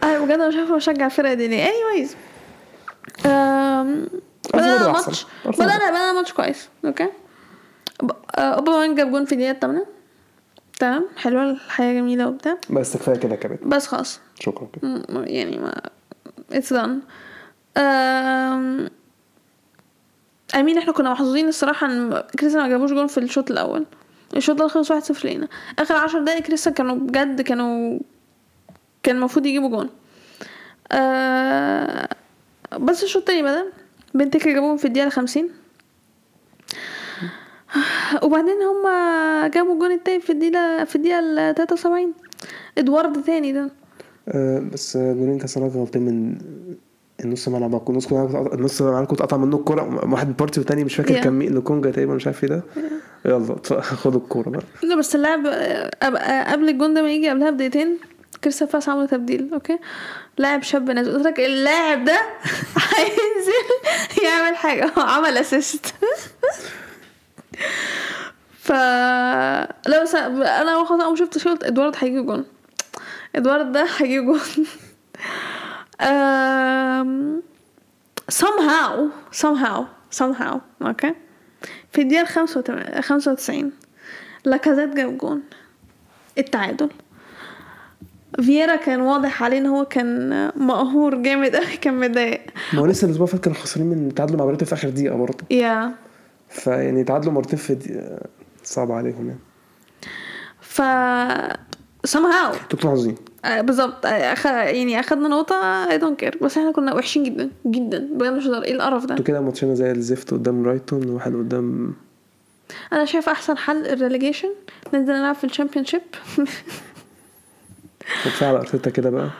Speaker 1: انا بجد مش عارفه اشجع الفرقه دي ليه anyways
Speaker 2: اطلع
Speaker 1: بدأنا بدأنا ماتش كويس اوكي ب- آه، اوباما جاب جون في الدقيقة الثامنة تمام حلوة الحياة جميلة وبتاع
Speaker 2: بس كفايه كده كمان
Speaker 1: بس خلاص
Speaker 2: شكرا كده
Speaker 1: م- م- يعني ما اتس دان أم... امين احنا كنا محظوظين الصراحه ان كريستيان ما جابوش جون في الشوط الاول الشوط الاول خلص 1-0 لينا اخر 10 دقايق كريستيان كانوا بجد كانوا كان المفروض يجيبوا جون أه... بس الشوط التاني بدا بنتكر جابوهم في الدقيقه 50 وبعدين هما جابوا الجون التاني في الدقيقه في الدقيقه ال 73 ادوارد تاني ده
Speaker 2: آه بس جولين كسرات غلطين من النص ملعب عندكم- نص ملعب اتقطع- نص ملعب اتقطع منه الكوره واحد بارتي والتاني مش فاكر
Speaker 1: Yeah.
Speaker 2: كان مين لوكونجا تقريبا مش عارف ايه ده يلا اتف- خدوا الكوره بقى
Speaker 1: لا بس اللاعب أب- آه، قبل الجون ده ما يجي قبلها بدقيقتين كريستال بالاس عملوا تبديل اوكي لاعب شاب نازل قلت لك اللاعب ده هينزل يعمل حاجه هو عمل اسيست ف لا بس انا واخد اول ما شفت شوط ادوارد هيجيب جون ادوارد ده هيجيب جون أم، somehow somehow somehow اوكي في الدقيقة خمسة خمسة وتسعين لاكازيت جاب جون التعادل فييرا كان واضح عليه ان هو كان مقهور جامد قوي كان متضايق
Speaker 2: ما هو لسه الاسبوع اللي فات كانوا خسرانين من تعادلوا مع بريتو في اخر دقيقه برضه
Speaker 1: يا yeah.
Speaker 2: فيعني تعادلوا مرتين في دقيقة صعب عليهم يعني
Speaker 1: ف somehow
Speaker 2: انتوا كنتوا محظوظين
Speaker 1: آه، بالظبط آه، أخ... يعني اخدنا نقطة اي دونت كير بس احنا كنا وحشين جدا جدا بجد مش هزار. ايه القرف ده
Speaker 2: انتوا كده ماتشنا زي الزفت قدام برايتون وواحد قدام
Speaker 1: انا شايف احسن حل الريليجيشن ننزل نلعب في الشامبيونشيب
Speaker 2: كفايه على ارتيتا كده بقى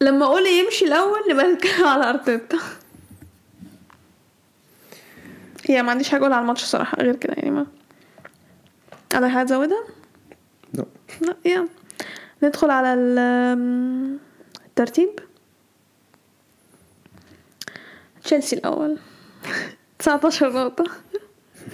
Speaker 1: لما اقول يمشي الاول نبقى نتكلم على ارتيتا يا ما عنديش حاجه اقول على الماتش صراحه غير كده يعني ما انا حاجه ازودها
Speaker 2: لا
Speaker 1: لا يا ندخل على ال- الترتيب تشيلسي الاول 19 نقطة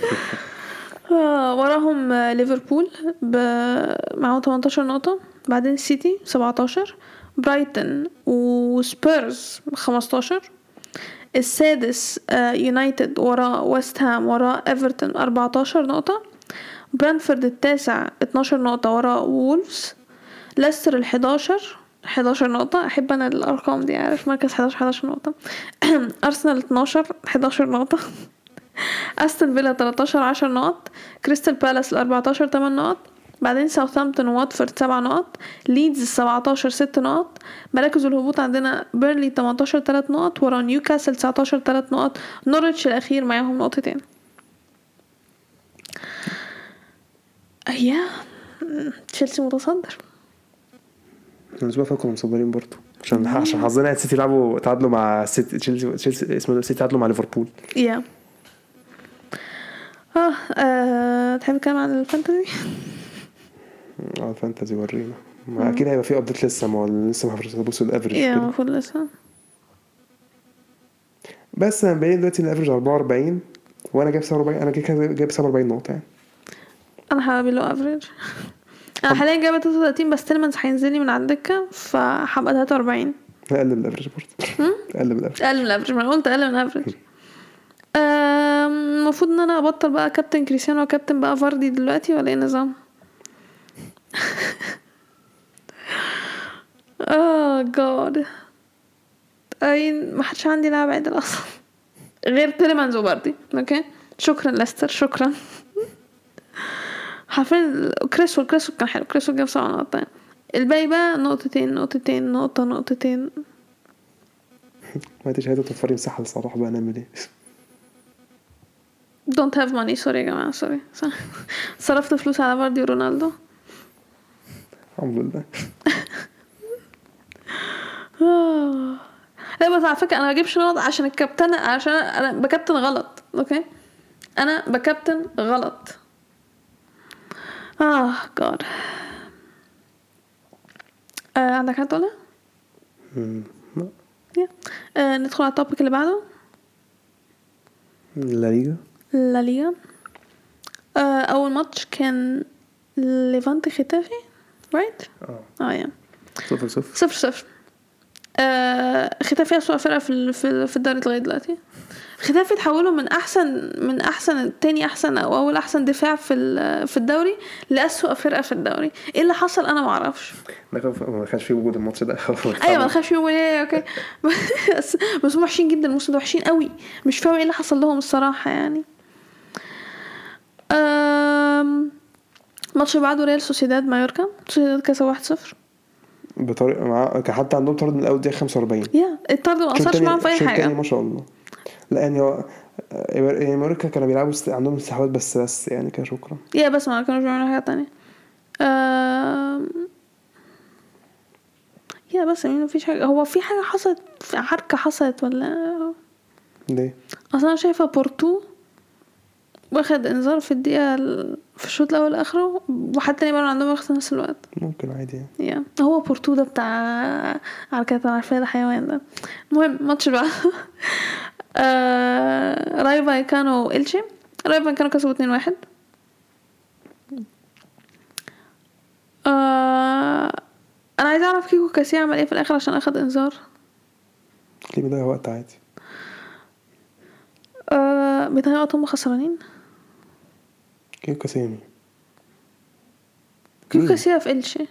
Speaker 1: آه، وراهم آه، ليفربول ب- معاهم 18 نقطة بعدين السيتي 17 برايتن وسبيرز 15 السادس آه، يونايتد وراه ويست هام وراه ايفرتون 14 نقطة برانفورد التاسع 12 نقطة وراه وولفز ليستر ال11 11 نقطة أحب أنا الأرقام دي عارف مركز 11 11 نقطة أرسنال 12 11 نقطة أستون فيلا 13 10 نقط كريستال بالاس ال 14 8 نقط بعدين ساوثهامبتون وواتفورد 7 نقط ليدز 17 6 نقط مراكز الهبوط عندنا بيرلي 18 3 نقط ورا نيوكاسل 19 3 نقط نورتش الأخير معاهم نقطتين يا تشيلسي متصدر
Speaker 2: الاسبوع اللي فات كنا مصدرين برضه عشان عشان حظنا السيتي لعبوا تعادلوا مع سيتي تشيلسي تشيلسي اسمه ده السيتي تعادلوا مع ليفربول
Speaker 1: يا اه, آه، تحب تتكلم عن الفانتزي
Speaker 2: على الفانتازي آه، ورينا ما اكيد هيبقى في ابديت لسه ما هو لسه ما حضرتش الافرج
Speaker 1: يا
Speaker 2: كده
Speaker 1: المفروض لسه
Speaker 2: بس انا بقيت دلوقتي الافرج 44 وانا جايب 47 انا كده كده جايب 47 نقطه يعني
Speaker 1: انا هبقى لو افريج انا حاليا جايبه 33 بس تيلمانز هينزل لي من على الدكه فهبقى 43
Speaker 2: اقل من الافرج برضه اقل من الافرج
Speaker 1: اقل من الافريج ما انا قلت اقل من الافريج آم، المفروض ان انا ابطل بقى كابتن كريستيانو وكابتن بقى فاردي دلوقتي ولا ايه النظام اه جاد اي ما حدش عندي لاعب عدل اصلا غير تيلمانز وباردي اوكي شكرا لستر شكرا حرفيا كريسول كريسول كان حلو كريسول جاب سبع نقط يعني. الباقي بقى نقطتين نقطتين نقطة نقطتين
Speaker 2: ما انتش عايزه توفري مساحه لصلاح بقى نعمل ايه
Speaker 1: don't have money سوري يا جماعة سوري صرفت فلوس على فاردي ورونالدو
Speaker 2: الحمد لله
Speaker 1: آه. لا بس على فكرة أنا ما بجيبش نقط عشان الكابتن عشان أنا بكابتن غلط أوكي أنا بكابتن غلط آه جاد آه عندك حاجة تقولها؟
Speaker 2: مم. لا.
Speaker 1: يا. آه ندخل على التوبيك اللي بعده
Speaker 2: لا ليجا
Speaker 1: لا ليغا آه أول ماتش كان ليفانتي ختافي رايت؟
Speaker 2: اه
Speaker 1: اه يا
Speaker 2: صفر صفر
Speaker 1: صفر صفر آه ختافي أسوأ فرقة في ال- في في الدوري لغاية دلوقتي ختافي اتحولوا من أحسن من أحسن تاني أحسن أو أول أحسن دفاع في ال- في الدوري لأسوأ فرقة في الدوري إيه اللي حصل أنا معرفش
Speaker 2: ده كان- ما كانش فيه وجود الماتش ده
Speaker 1: ايوه ما تخافش يقول ايه اوكي بس بس هم وحشين جدا الموسم ده وحشين قوي مش فاهم ايه اللي حصل لهم الصراحه يعني أم، الماتش اللي بعده ريال سوسيداد مايوركا سوسيداد كسب 1-0
Speaker 2: بطريقه مع... كان حتى عندهم طرد من الاول دقيقه 45
Speaker 1: يا الطرد ما
Speaker 2: الشوط
Speaker 1: اثرش
Speaker 2: التاني-
Speaker 1: معاهم في اي
Speaker 2: الشوط التاني
Speaker 1: حاجه
Speaker 2: ما شاء الله لا يعني هو يعني موريكا كانوا بيلعبوا است- عندهم استحواذ بس بس يعني كده شكرا
Speaker 1: يا بس ما كانوش بيعملوا حاجه تانية أم، يا بس يعني مفيش حاجه هو في حاجه حصلت حركه حصلت ولا
Speaker 2: ليه؟
Speaker 1: اصل انا شايفه بورتو واخد انذار في الدقيقه ال- في الشوط الاول اخره وحتى تاني برضه عندهم ياخد نفس الوقت
Speaker 2: ممكن عادي يعني
Speaker 1: يا هو بورتو ده بتاع عركات عارفاه ده حيوان ده المهم ماتش بقى آه... رايفا كانوا إلشي رايفا كانوا كسبوا 2 واحد آه... انا عايزه اعرف كيكو كاسيه عمل ايه في الاخر عشان اخد انذار
Speaker 2: ليه بيضيع وقت عادي
Speaker 1: آه... بيتهيألي وقت هم خسرانين
Speaker 2: كيف كاسيمي
Speaker 1: كيكو
Speaker 2: مم.
Speaker 1: كاسيه في إلشي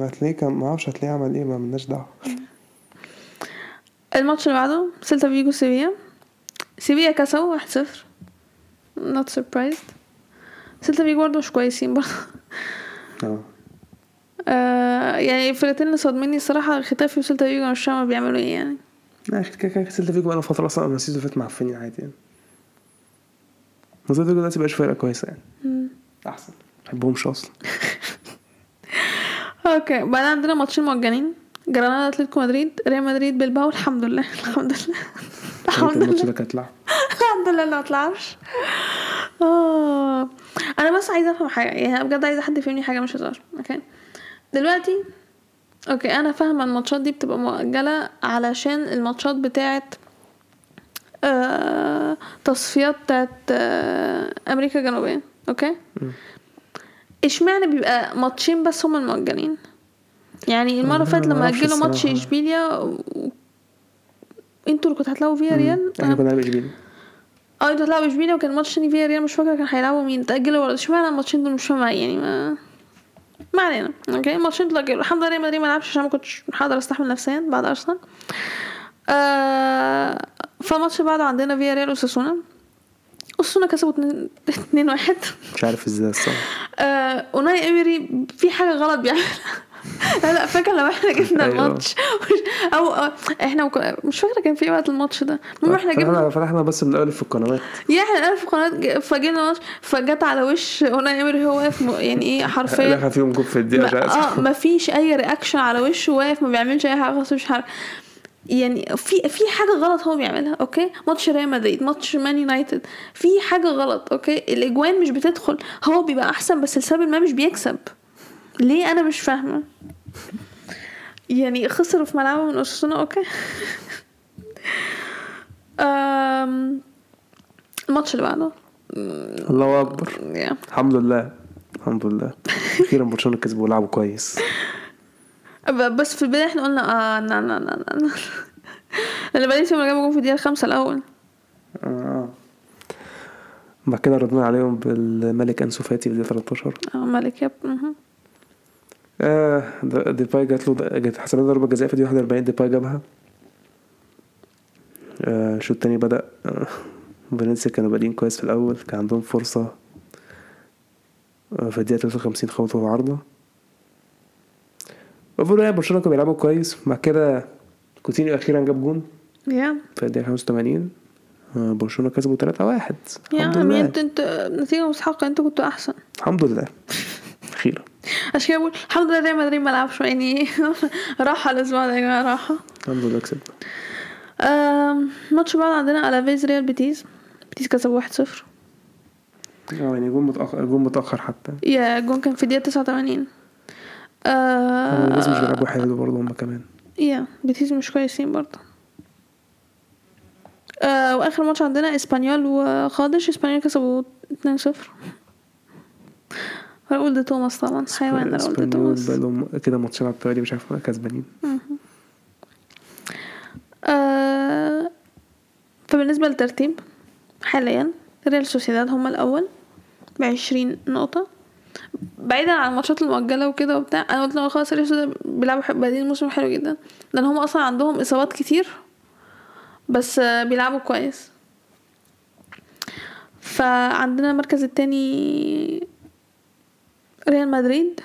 Speaker 2: هتلاقيه كان ما اعرفش هتلاقيه عمل ايه ما ملناش دعوه
Speaker 1: الماتش اللي بعده سيلتا فيجو سيفيا سيفيا كسبوا 1-0 not surprised سيلتا فيجو برضه مش كويسين برضه
Speaker 2: اه
Speaker 1: آه يعني الفرقتين اللي صادميني الصراحة ختافي وسيلتا فيجو أنا مش فاهمة بيعملوا ايه يعني
Speaker 2: لا كده كده كده سيلتا فيجو بقاله فتره اصلا من السيزون اللي فات معفنين عادي يعني سيلتا فيجو دلوقتي مبقاش فرقه كويسه يعني احسن ما بحبهمش اصلا
Speaker 1: اوكي بعد عندنا ماتشين مجانين جرانادا اتلتيكو مدريد ريال مدريد بلباو الحمد لله الحمد لله
Speaker 2: يا ريت
Speaker 1: الحمد
Speaker 2: الماتش
Speaker 1: لله
Speaker 2: ده كان يطلع
Speaker 1: الحمد لله اللي ما طلعش اه انا بس عايزه افهم حاجه يعني أنا بجد عايزه حد يفهمني حاجه مش هزار اوكي دلوقتي اوكي انا فاهمه الماتشات دي بتبقى مؤجله علشان الماتشات بتاعه آه تصفيات بتاعه آه امريكا الجنوبيه اوكي
Speaker 2: مم.
Speaker 1: اشمعنى بيبقى ماتشين بس هما المؤجلين يعني المره اللي فاتت
Speaker 2: ما
Speaker 1: لما
Speaker 2: أعرفش
Speaker 1: اجلوا ماتش
Speaker 2: الصراحة.
Speaker 1: اشبيليا و- انتوا اللي كنتوا هتلاقوا فيها ريال
Speaker 2: احنا كنا بنلعب اشبيليه
Speaker 1: اه انتوا هتلعبوا اشبيليا وكان ماتش تاني فيها ريال مش فاكره كان هيلعبوا مين تأجلوا ولا اشمعنى الماتشين دول مش فاهمه يعني ما ما علينا اوكي الماتشين دول تأجلوا الحمد لله ريال مدريد ما لعبش عشان ما كنتش هقدر استحمل نفسيا بعد ارسنال آه فالماتش اللي بعده عندنا فيا ريال وساسونا اسونا كسبوا 2 1
Speaker 2: مش عارف ازاي الصراحه
Speaker 1: آه اوناي اميري في حاجه غلط بيعملها لا لا فاكر لما احنا جبنا
Speaker 2: أيوة.
Speaker 1: الماتش او أو- احنا وك- مش فاكره كان في إيه وقت الماتش ده المهم احنا جبنا
Speaker 2: فرحنا فرحنا بس من الاول في القنوات
Speaker 1: يا احنا الان في قناه ج- فجينا ماتش فجت على وش اوناي امري هو واقف م- يعني ايه حرفيا
Speaker 2: دخل فيهم جول في الدقيقه مش
Speaker 1: ما
Speaker 2: عارف
Speaker 1: اه ما فيش اي رياكشن على وشه واقف ما بيعملش اي حاجه خالص مش حاجه يعني في في حاجه غلط هو بيعملها اوكي ماتش ريال مدريد ماتش مان يونايتد في حاجه غلط اوكي الاجوان مش بتدخل هو بيبقى احسن بس لسبب ما مش بيكسب ليه انا مش فاهمه يعني خسروا في ملعبهم من اساسونا اوكي أم، الماتش اللي بعده
Speaker 2: الله اكبر
Speaker 1: يا.
Speaker 2: الحمد لله الحمد لله اخيرا برشلونه كسبوا ولعبوا كويس
Speaker 1: ب- بس في البداية احنا قلنا اه لا لا لا لا لا لأن باريس هما اللي جابوا جون في الدقيقة الخامسة الأول
Speaker 2: آه. بعد كده ردنا عليهم بالملك انسو فاتي في الدقيقه 13
Speaker 1: اه مالك ياب مهم.
Speaker 2: آه د- ديباي جات له جت حسب له ضربه جزاء في دقيقه 41 ديباي جابها آه الشوط التاني بدا آه فالنسيا كانوا بادئين كويس في الاول كان عندهم فرصه آه في الدقيقه 53 خبطوا في عارضه اوفرول يعني برشلونه كانوا بيلعبوا كويس بعد كده كوتينيو اخيرا جاب جون
Speaker 1: يا
Speaker 2: في الدقيقه 85 آه برشلونه كسبوا 3 1
Speaker 1: يا
Speaker 2: الحمد
Speaker 1: عمي
Speaker 2: لله
Speaker 1: انت انت نتيجة مستحقة انتوا كنتوا أحسن
Speaker 2: الحمد لله اخيرا
Speaker 1: عشان كده بقول الحمد لله ريال مدريد ما لعبش يعني راحة الأسبوع ده يا جماعة راحة
Speaker 2: الحمد لله كسبنا
Speaker 1: آم، الماتش بعد عندنا ألافيز ريال بيتيز بيتيز كسب 1-0
Speaker 2: اه يعني جون متاخر جون متاخر حتى
Speaker 1: يا جون كان في الدقيقة 89
Speaker 2: هو
Speaker 1: آه
Speaker 2: الناس مش بيلعبوا حلو برضه هما كمان
Speaker 1: يا بيتيز مش كويسين برضه آه واخر ماتش عندنا اسبانيول وخادش اسبانيول كسبوا 2-0 راؤول دي توماس طبعا حيوان راؤول دي
Speaker 2: اسبانيول
Speaker 1: توماس
Speaker 2: بقى لهم كده ماتشين على التوالي مش عارف كسبانين
Speaker 1: آه، فبالنسبة للترتيب حاليا ريال سوسيداد هما الأول بعشرين نقطة بعيدا عن الماتشات المؤجلة وكده وبتاع أنا قلت لهم خلاص ريال سوسيداد بيلعبوا حلو- بادئين الموسم حلو جدا لأن هما أصلا عندهم إصابات كتير بس آه، بيلعبوا كويس فعندنا المركز التاني ريال مدريد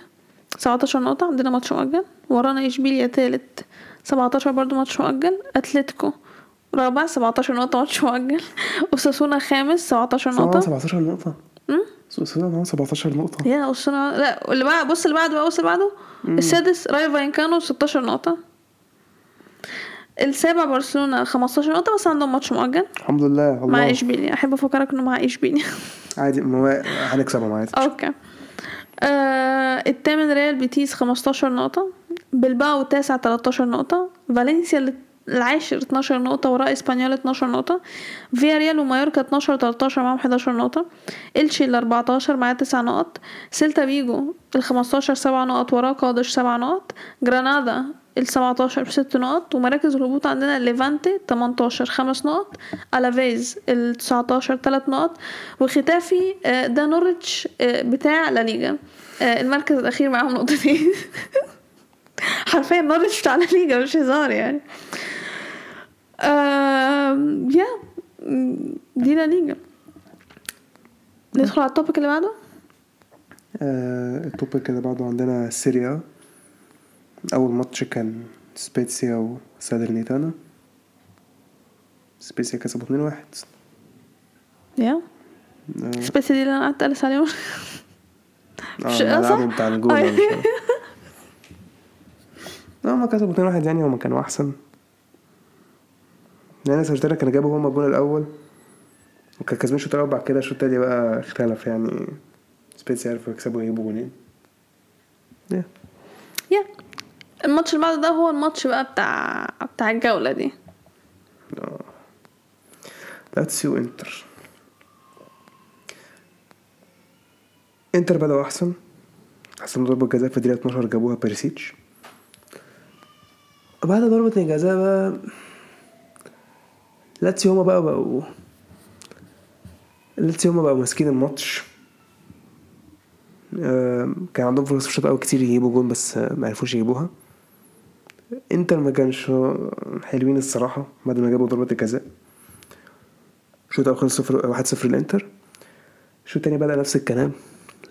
Speaker 1: 19 نقطة عندنا ماتش مؤجل ورانا اشبيليا تالت 17 برضو ماتش مؤجل اتلتيكو رابع 17 نقطة ماتش مؤجل اساسونا خامس 17
Speaker 2: معاهم
Speaker 1: نقطة
Speaker 2: 17 نقطة
Speaker 1: أمم؟
Speaker 2: سوسيداد معاهم 17 نقطة
Speaker 1: يا اساسونا لا اللي بقى بص اللي بعده بقى بص اللي بعده السادس رايو فاينكانو 16 نقطة السابع برشلونة 15 نقطة بس عندهم ماتش مؤجل
Speaker 2: الحمد لله
Speaker 1: مع
Speaker 2: الله
Speaker 1: اشبيليا احب افكرك انه مع اشبيليا
Speaker 2: عادي ما هو هنكسبهم عادي
Speaker 1: اوكي آه الثامن ريال بيتيس 15 نقطة بلباو التاسع 13 نقطة فالنسيا ال- العاشر 12 نقطة وراء اسبانيول 12 نقطة فيا ريال ومايوركا 12 و 13 معاهم 11 نقطة الشي ال 14 معاه 9 نقط سيلتا فيجو ال 15 7 نقط وراه قادش 7 نقط جرانادا ال 17 ب 6 نقط ومراكز الهبوط عندنا ليفانتي 18 5 نقط الافيز ال 19 3 نقط وختافي آه، ده نورتش آه، بتاع لا ليجا آه، المركز الاخير معاهم نقطتين حرفيا نورتش بتاع لا ليجا مش هزار يعني آم، يا م، دي لا ليجا ندخل على التوبيك اللي بعده
Speaker 2: آه التوبيك اللي بعده عندنا سيريا أول ماتش كان سبيتسيا وسالرنيتانا سبيتسيا كسبوا 2-1
Speaker 1: يا
Speaker 2: آه،
Speaker 1: سبيسي دي اللي انا قعدت ألس عليهم مش آه، أيوة. قصة؟
Speaker 2: اه ملعبهم بتاع الجول
Speaker 1: أي.
Speaker 2: ده مش عارف. لا هما كسبوا 2 واحد يعني هما كانوا يعني احسن لان سجدنا كانوا جابوا هما الجول الاول وكانوا كاسبين الشوط الاول بعد كده الشوط التاني بقى اختلف يعني سبيتسي عرفوا يكسبوا يجيبوا جولين yeah.
Speaker 1: يا الماتش اللي بعده ده هو الماتش بقى بتاع بتاع الجولة دي
Speaker 2: لاتسيو انتر انتر بدأوا احسن حسن ضربة جزاء في الدقيقة 12 جابوها بيرسيتش بعد ضربة الجزاء بقى لاتسيو هما بقى بقوا لاتسيو هما بقوا ماسكين الماتش آم، كان عندهم فرص في الشوط الاول كتير يجيبوا جون بس آه، ما عرفوش يجيبوها انتر ما كانش حلوين الصراحه بعد ما جابوا ضربه الجزاء الشوط الاول خلص 0 1 0 الانتر الشوط التاني بدا نفس الكلام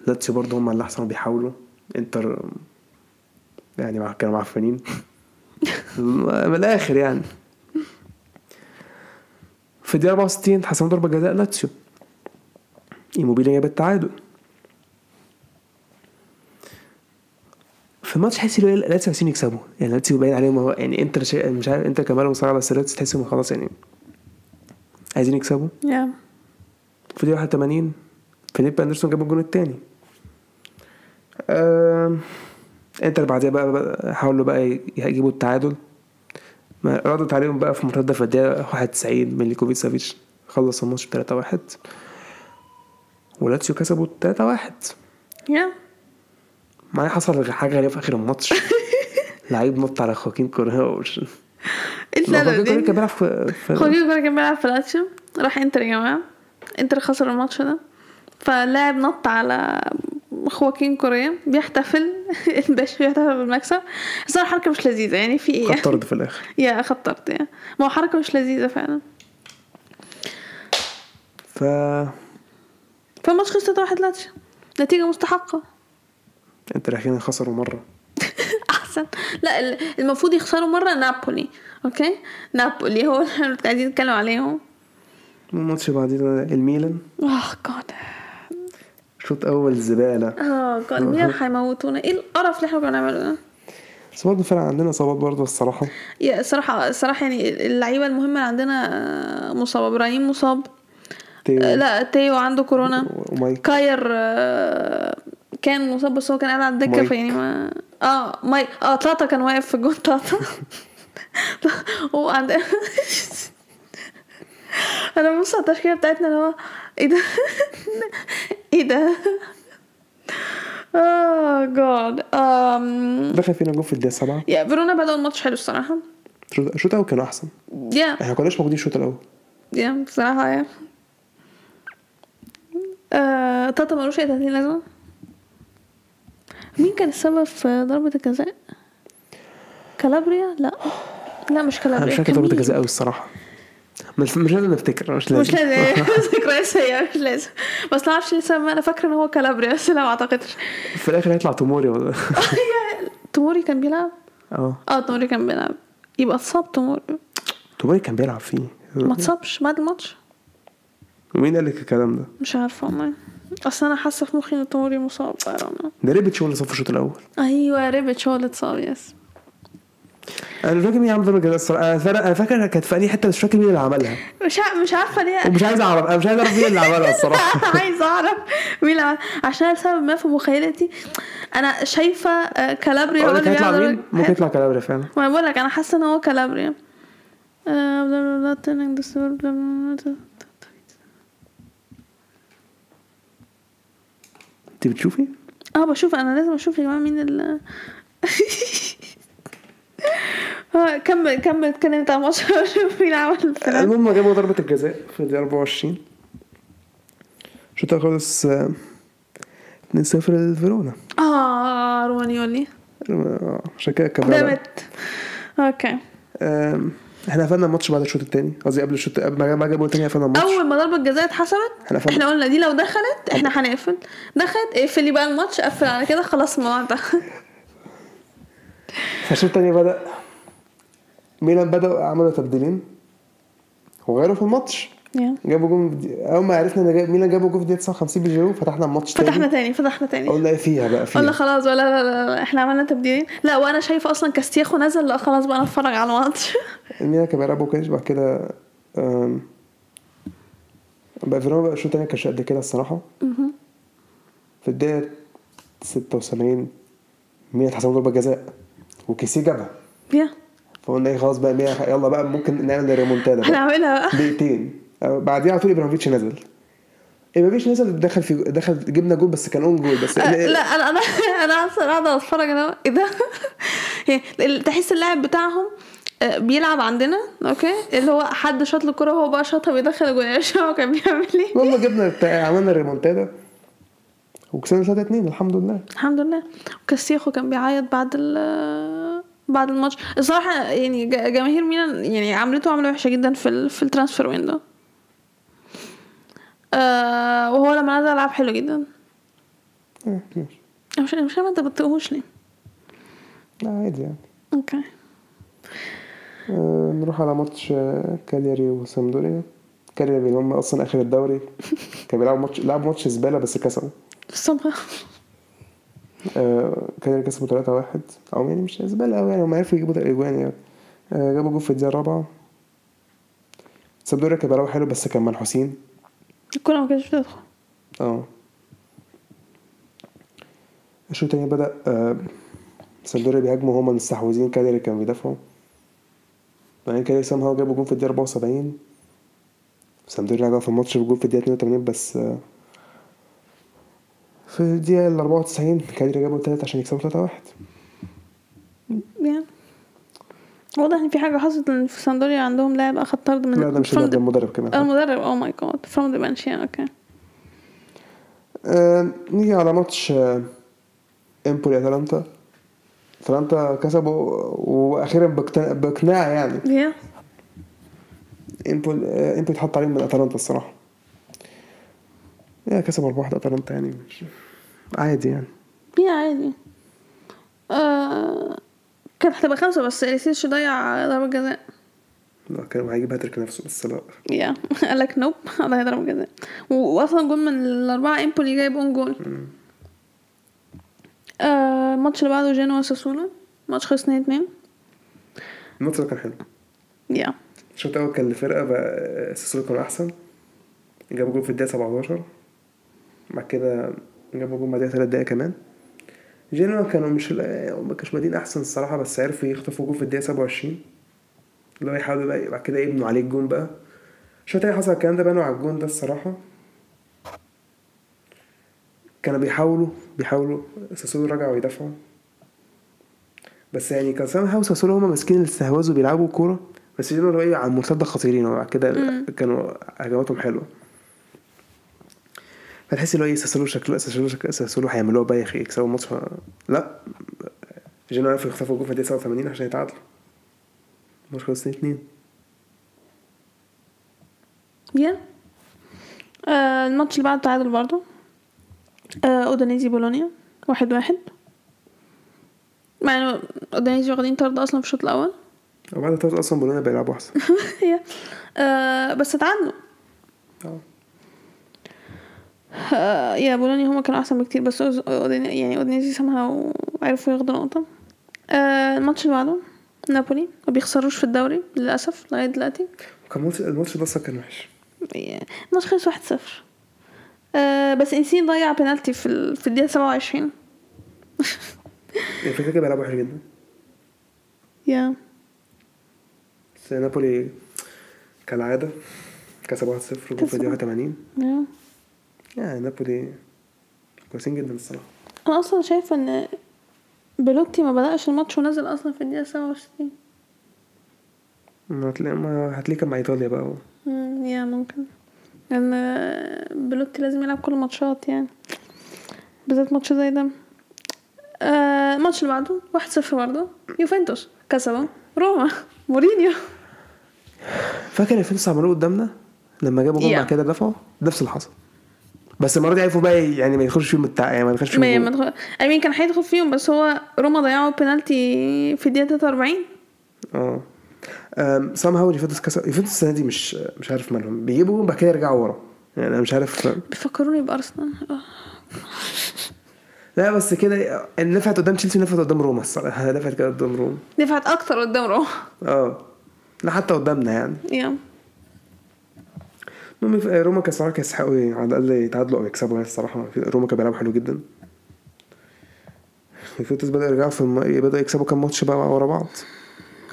Speaker 2: لاتسيو برضه هم اللي احسن بيحاولوا انتر يعني مع- كانوا معفنين من الاخر يعني في الدقيقه 64 اتحسمت ضربه جزاء لاتسيو ايموبيلي جاب التعادل في الماتش تحس ان هو لاتسيو عايزين يكسبوا يعني لاتسيو باين عليهم هو يعني انتر شا... مش عارف انتر كان مالهم صراحه بس لاتسيو تحس انهم خلاص يعني عايزين يكسبوا
Speaker 1: يا
Speaker 2: في الدقيقة 81 فيليب اندرسون جاب الجون التاني آم، انتر بعدها بقى, بقى حاولوا بقى يجيبوا التعادل ما ردت عليهم بقى في مرتدة في الدقيقة 91 ميليكوفيتش سافيتش خلص الماتش ب 3 1 ولاتسيو كسبوا 3 1
Speaker 1: يا
Speaker 2: معايا حصل حاجة غريبة في آخر الماتش لعيب نط على خواكين كوريا إيه
Speaker 1: اتلغى
Speaker 2: خواكين كوريا
Speaker 1: دي
Speaker 2: كان بيلعب في في-
Speaker 1: خوجي كورة كان بيلعب في الاتشم راح انتر يا جماعة انتر خسر الماتش ده فاللاعب نط على خواكين كوريا بيحتفل الباشا بيحتفل بالمكسب الصراحة حركة مش لذيذة يعني في ايه
Speaker 2: كان طرد في الآخر
Speaker 1: يا خطرت يا ما هو حركة مش لذيذة فعلا
Speaker 2: ف
Speaker 1: فالماتش خلص 3 واحد لاتشم نتيجة مستحقة
Speaker 2: انتر أخيرا خسروا مرة
Speaker 1: احسن لا ال- المفروض يخسروا مره نابولي اوكي نابولي هو اللي احنا عايزين نتكلم عليهم
Speaker 2: الماتش بعدين الميلان
Speaker 1: اه جاد
Speaker 2: شوط اول زباله
Speaker 1: اه جاد مين هيموتونا ايه القرف اللي احنا بنعمله ده
Speaker 2: بس برضه فعلا عندنا اصابات برضه الصراحه
Speaker 1: يا الصراحه الصراحه يعني اللعيبه المهمه اللي عندنا آه، مصاب ابراهيم مصاب
Speaker 2: تيو
Speaker 1: آه، لا تيو عنده كورونا
Speaker 2: ومايك
Speaker 1: كاير آه، كان مصاب بس هو كان قاعد على الدكه
Speaker 2: مايك.
Speaker 1: فيعني ما اه ماي اه طاطا كان واقف في الجون طاطا هو عند انا ببص على إيه التشكيله بتاعتنا اللي هو ايه ده ايه ده Oh god. Um,
Speaker 2: دخل فينا جون في الدقيقه 7
Speaker 1: يا فيرونا بدأوا الماتش حلو الصراحة.
Speaker 2: الشوط الاول كان احسن
Speaker 1: يا
Speaker 2: احنا ما كناش موجودين الشوط الاول
Speaker 1: يا بصراحة يا. آه، تاتا ملوش أي 30 لازمة. مين كان السبب في ضربة الجزاء؟ كالابريا؟ لا لا مش
Speaker 2: انا
Speaker 1: كالابريا
Speaker 2: مش فاكر
Speaker 1: كان
Speaker 2: ضربه
Speaker 1: مين؟
Speaker 2: الجزاء قوي الصراحه مش مش لازم نفتكر مش لازم
Speaker 1: مش لازم ذكريات سيئة مش لازم بس معرفش ليه السبب أنا فاكرة إن هو كالابريا بس لا ما أعتقدش
Speaker 2: في الاخر هيطلع توموري ولا
Speaker 1: تموري كان بيلعب؟
Speaker 2: اه
Speaker 1: اه تموري كان بيلعب يبقى اتصاب تموري
Speaker 2: توموري كان بيلعب فيه
Speaker 1: ما اتصابش بعد الماتش
Speaker 2: ومين قال لك الكلام ده؟
Speaker 1: مش عارفة والله اصل انا حاسة في مخي ان تموري مصاب I don't know.
Speaker 2: ده ريبيتش هو اللي صف الشوط الاول
Speaker 1: ايوه ريبيتش هو اللي اتصاب يس
Speaker 2: انا مش فاكر مين عمل ضربه جزاء الصراحه انا فاكر انا فاكر كانت في اي حته بس مش فاكر مين اللي عملها
Speaker 1: مش ع- مش عارفة ليه
Speaker 2: ومش عايز اعرف انا مش عايز اعرف مين اللي عملها الصراحه
Speaker 1: انا عايزة اعرف مين اللي عمل- عشان لسبب ما في مخيلتي انا شايفة آه، كالابريا
Speaker 2: اقول
Speaker 1: هو
Speaker 2: لك
Speaker 1: اللي
Speaker 2: هيطلع
Speaker 1: بيعمل
Speaker 2: مين؟ ممكن يطلع كالابريا فعلا
Speaker 1: ما انا بقول لك انا حاسه ان هو كالابريا آه، بلا بلا بلا، turning the sword، بلا بلا بلا.
Speaker 2: انت بتشوفي؟
Speaker 1: اه بشوف انا لازم اشوف يا جماعه مين ال آه، كمل كمل اتكلم بتاع الماتش وشوف مين عمل الكلام.
Speaker 2: المهم جابوا ضربة الجزاء في الدقيقة 24 الشوط الأول خلص آه، 2-0 لفيرونا
Speaker 1: اه رومانيولي
Speaker 2: آه، عشان كده كبرنا
Speaker 1: دامت اوكي
Speaker 2: آم، احنا قفلنا الماتش بعد الشوط التاني قصدي قبل الشوط قبل ما ما جابوا التاني قفلنا الماتش
Speaker 1: اول ما ضربه الجزاء اتحسبت
Speaker 2: احنا فهمنا.
Speaker 1: احنا قلنا دي لو دخلت احنا هنقفل دخلت اقفلي بقى الماتش قفل على كده خلاص الموضوع ده
Speaker 2: فالشوط التاني بدأ ميلان بدأوا عملوا تبديلين وغيروا في الماتش
Speaker 1: يا.
Speaker 2: جابوا جون في الدقيقة- اول ما عرفنا ان جاب- ميلان جابوا جون في الدقيقة 59 بجيرو فتحنا الماتش تاني
Speaker 1: فتحنا تاني فتحنا تاني
Speaker 2: قلنا ايه فيها بقى
Speaker 1: قلنا
Speaker 2: فيها
Speaker 1: خلاص ولا لا, لا, لا احنا عملنا تبديلين لا وانا شايفه اصلا كاستياخو نزل لا خلاص بقى انا اتفرج على الماتش
Speaker 2: ميلان كان بيلعبوا كاش بعد كده آم، بقى فيرونا بقى الشوط التاني كانش قد كده الصراحة في الدقيقة 76 ميلان اتحسب ضربة جزاء وكيسيه جابها
Speaker 1: يا
Speaker 2: فقلنا ايه خلاص بقى ميلان يلا بقى ممكن نعمل ريمونتادا بقى.
Speaker 1: هنعملها بقى
Speaker 2: دقيقتين أو بعديها على طول ابراهيموفيتش نزل ابراهيموفيتش نزل دخل في دخل جبنا جول بس كان اون جول بس إيه،
Speaker 1: أه، لا انا انا انا اصلا قاعده اتفرج انا ايه ده يعني ال- تحس اللاعب بتاعهم أه، بيلعب عندنا اوكي اللي هو حد شاط له الكوره وهو بقى شاطها بيدخل جول مش هو كان بيعمل ايه
Speaker 2: المهم جبنا بتاع- عملنا الريمونتادا وكسبنا 3 2 الحمد لله
Speaker 1: الحمد لله وكاسياخو كان بيعيط بعد ال بعد الماتش الصراحه يعني ج- جماهير ميلان يعني عملته عمله وحشه جدا في ال في الترانسفير ويندو آه وهو لما نزل لعب حلو جدا
Speaker 2: آه، ماشي
Speaker 1: أنا مش أنا مش فاهمه انت بتقولوش ليه
Speaker 2: لا عادي يعني
Speaker 1: اوكي
Speaker 2: آه، نروح على ماتش آه، كالياري وسامدوريا كالياري اللي هم اصلا اخر الدوري كانوا بيلعبوا ماتش لعبوا ماتش زباله بس كسبوا
Speaker 1: somehow
Speaker 2: آه، كالياري كسبوا 3 1 او يعني مش زباله قوي يعني هم عرفوا يجيبوا الاجوان يعني آه، جابوا جول في الدقيقه الرابعه سامدوريا كان بيلعبوا حلو بس كان منحوسين
Speaker 1: الكوره ما كانتش بتدخل
Speaker 2: اه الشوط التاني بدأ آه، سامدوريا بيهاجموا هما مستحوذين كاليري كانوا بيدافعوا بعدين كاليري سام هاو جابوا جون في الدقيقة 74 سامدوريا رجعوا في الماتش بجون في الدقيقة 82 بس آه، في الدقيقة ال 94 كاليري جابوا التالت عشان يكسبوا 3 1
Speaker 1: يعني واضح ان في حاجه حصلت ان في ساندوريا عندهم لاعب اخد طرد من
Speaker 2: لا ده مش
Speaker 1: from
Speaker 2: اللاعب، ده
Speaker 1: the-
Speaker 2: المدرب كمان
Speaker 1: المدرب Oh او ماي جاد فروم ذا بنش اوكي
Speaker 2: آه، نيجي على ماتش آه، امبولي اتلانتا اتلانتا كسبوا واخيرا باقتناع باقناع يعني
Speaker 1: يا
Speaker 2: امبول آه، امبول اتحط عليهم من اتلانتا الصراحه يا كسب 4 1 اتلانتا يعني مش عادي يعني
Speaker 1: يا عادي آه كانت هتبقى خمسه بس يعني اليسيتش ضيع ضربه جزاء
Speaker 2: لا، كان هيجيب هاتريك نفسه بس لا
Speaker 1: يا قال لك نوب هذا هي ضربه جزاء و- واصلا جول من الاربعه امبولي جايب اون جول آه، الماتش اللي بعده جينوا ساسولا ماتش خلص 2 2
Speaker 2: الماتش ده كان حلو
Speaker 1: يا
Speaker 2: الشوط الاول كان الفرقه بقى سيسرو كانوا احسن جابوا جول في الدقيقه 17 بعد كده جابوا جول بعد ثلاث دقايق كمان جينوا كانوا مش ما كانوش بادئين احسن الصراحه بس عرفوا يخطفوا جول في الدقيقه 27 اللي هو يحاولوا بقى بعد كده يبنوا عليه الجون بقى الشوط التاني حصل الكلام ده بنوا على الجون ده الصراحه كانوا بيحاولوا بيحاولوا ساسولو رجعوا يدافعوا بس يعني كان سامح وساسولو هما ماسكين الاستحواذ وبيلعبوا كوره بس جيرو وقعوا على المرتده خطيرين وبعد كده ال- كانوا هجماتهم حلوه فتحس اللي هو ايه ساسولو شكله ساسولو شكله ساسولو هيعملوها بقى يا اخي يكسبوا الماتش ف- لا جيرو عرفوا يخطفوا الجول في الدقيقه 89 عشان يتعادلوا الماتش خلص 2
Speaker 1: يا آه الماتش اللي بعده تعادل برضه آه اودينيزي بولونيا واحد واحد مع انه اودينيزي واخدين طرد اصلا في الشوط الاول
Speaker 2: وبعد التلاتة اصلا بولونيا بيلعبوا احسن
Speaker 1: يا. آه بس اتعادلوا
Speaker 2: اه
Speaker 1: آه، يا بولونيا هما كانوا احسن بكتير بس أوز- أودين- يعني اودينيزي سامها وعرفوا ياخدوا نقطه آه الماتش اللي بعده نابولي ما بيخسروش في الدوري للاسف لغايه دلوقتي يعني
Speaker 2: وكان الماتش- الماتش ده اصلا كان وحش
Speaker 1: الماتش خلص 1-0 آه بس انسين ضيع بينالتي في ال... في الدقيقه 27
Speaker 2: يعني فكرة كده بيلعبوا حلو جدا
Speaker 1: يا
Speaker 2: بس نابولي كالعادة كسب 1-0 جول في
Speaker 1: كسبوا.
Speaker 2: الدقيقة 81
Speaker 1: يا
Speaker 2: يعني نابولي كويسين جدا الصراحة
Speaker 1: انا اصلا شايفه ان بيلوتي ما بدأش الماتش ونزل اصلا في الدقيقه 67
Speaker 2: ما هتلاقي ما هتلاقيه كان مع ايطاليا بقى و-
Speaker 1: مم، يا ممكن لان آه، بيلوتي لازم يلعب كل الماتشات يعني بالذات ماتش زي ده آه، الماتش اللي بعده واحد صفر برضه يوفنتوس كسبوا روما مورينيو
Speaker 2: فاكر الفينس عملوه قدامنا لما جابوا جول
Speaker 1: Yeah.
Speaker 2: بعد كده دفعوا نفس اللي حصل بس المرة دي عرفوا بقى يعني ما يدخلش فيهم التع... يعني ما يدخلش
Speaker 1: ما
Speaker 2: فيهم
Speaker 1: ما
Speaker 2: جول.
Speaker 1: دخل... I mean كان هيدخل فيهم بس هو روما ضيعوا بينالتي في الدقيقة 43
Speaker 2: اه أم، سام هاو يوفنتوس كسب يوفنتوس السنة دي مش مش عارف مالهم بيجيبوا جول بعد كده يرجعوا ورا يعني انا مش عارف
Speaker 1: بيفكروني بأرسنال آه.
Speaker 2: لا بس كده نفعت قدام تشيلسي نفعت قدام روما الصراحة نفعت كده قدام روما
Speaker 1: دفعت أكتر قدام روما
Speaker 2: اه لا حتى قدامنا يعني
Speaker 1: يا
Speaker 2: المهم في- روما كان صراحه كان يستحقوا يعني على الاقل يتعادلوا او يكسبوا يعني الصراحه في- روما كان بيلعبوا حلو جدا يوفنتوس بدأ يرجعوا في الم... بدأ يكسبوا كام ماتش بقى ورا بعض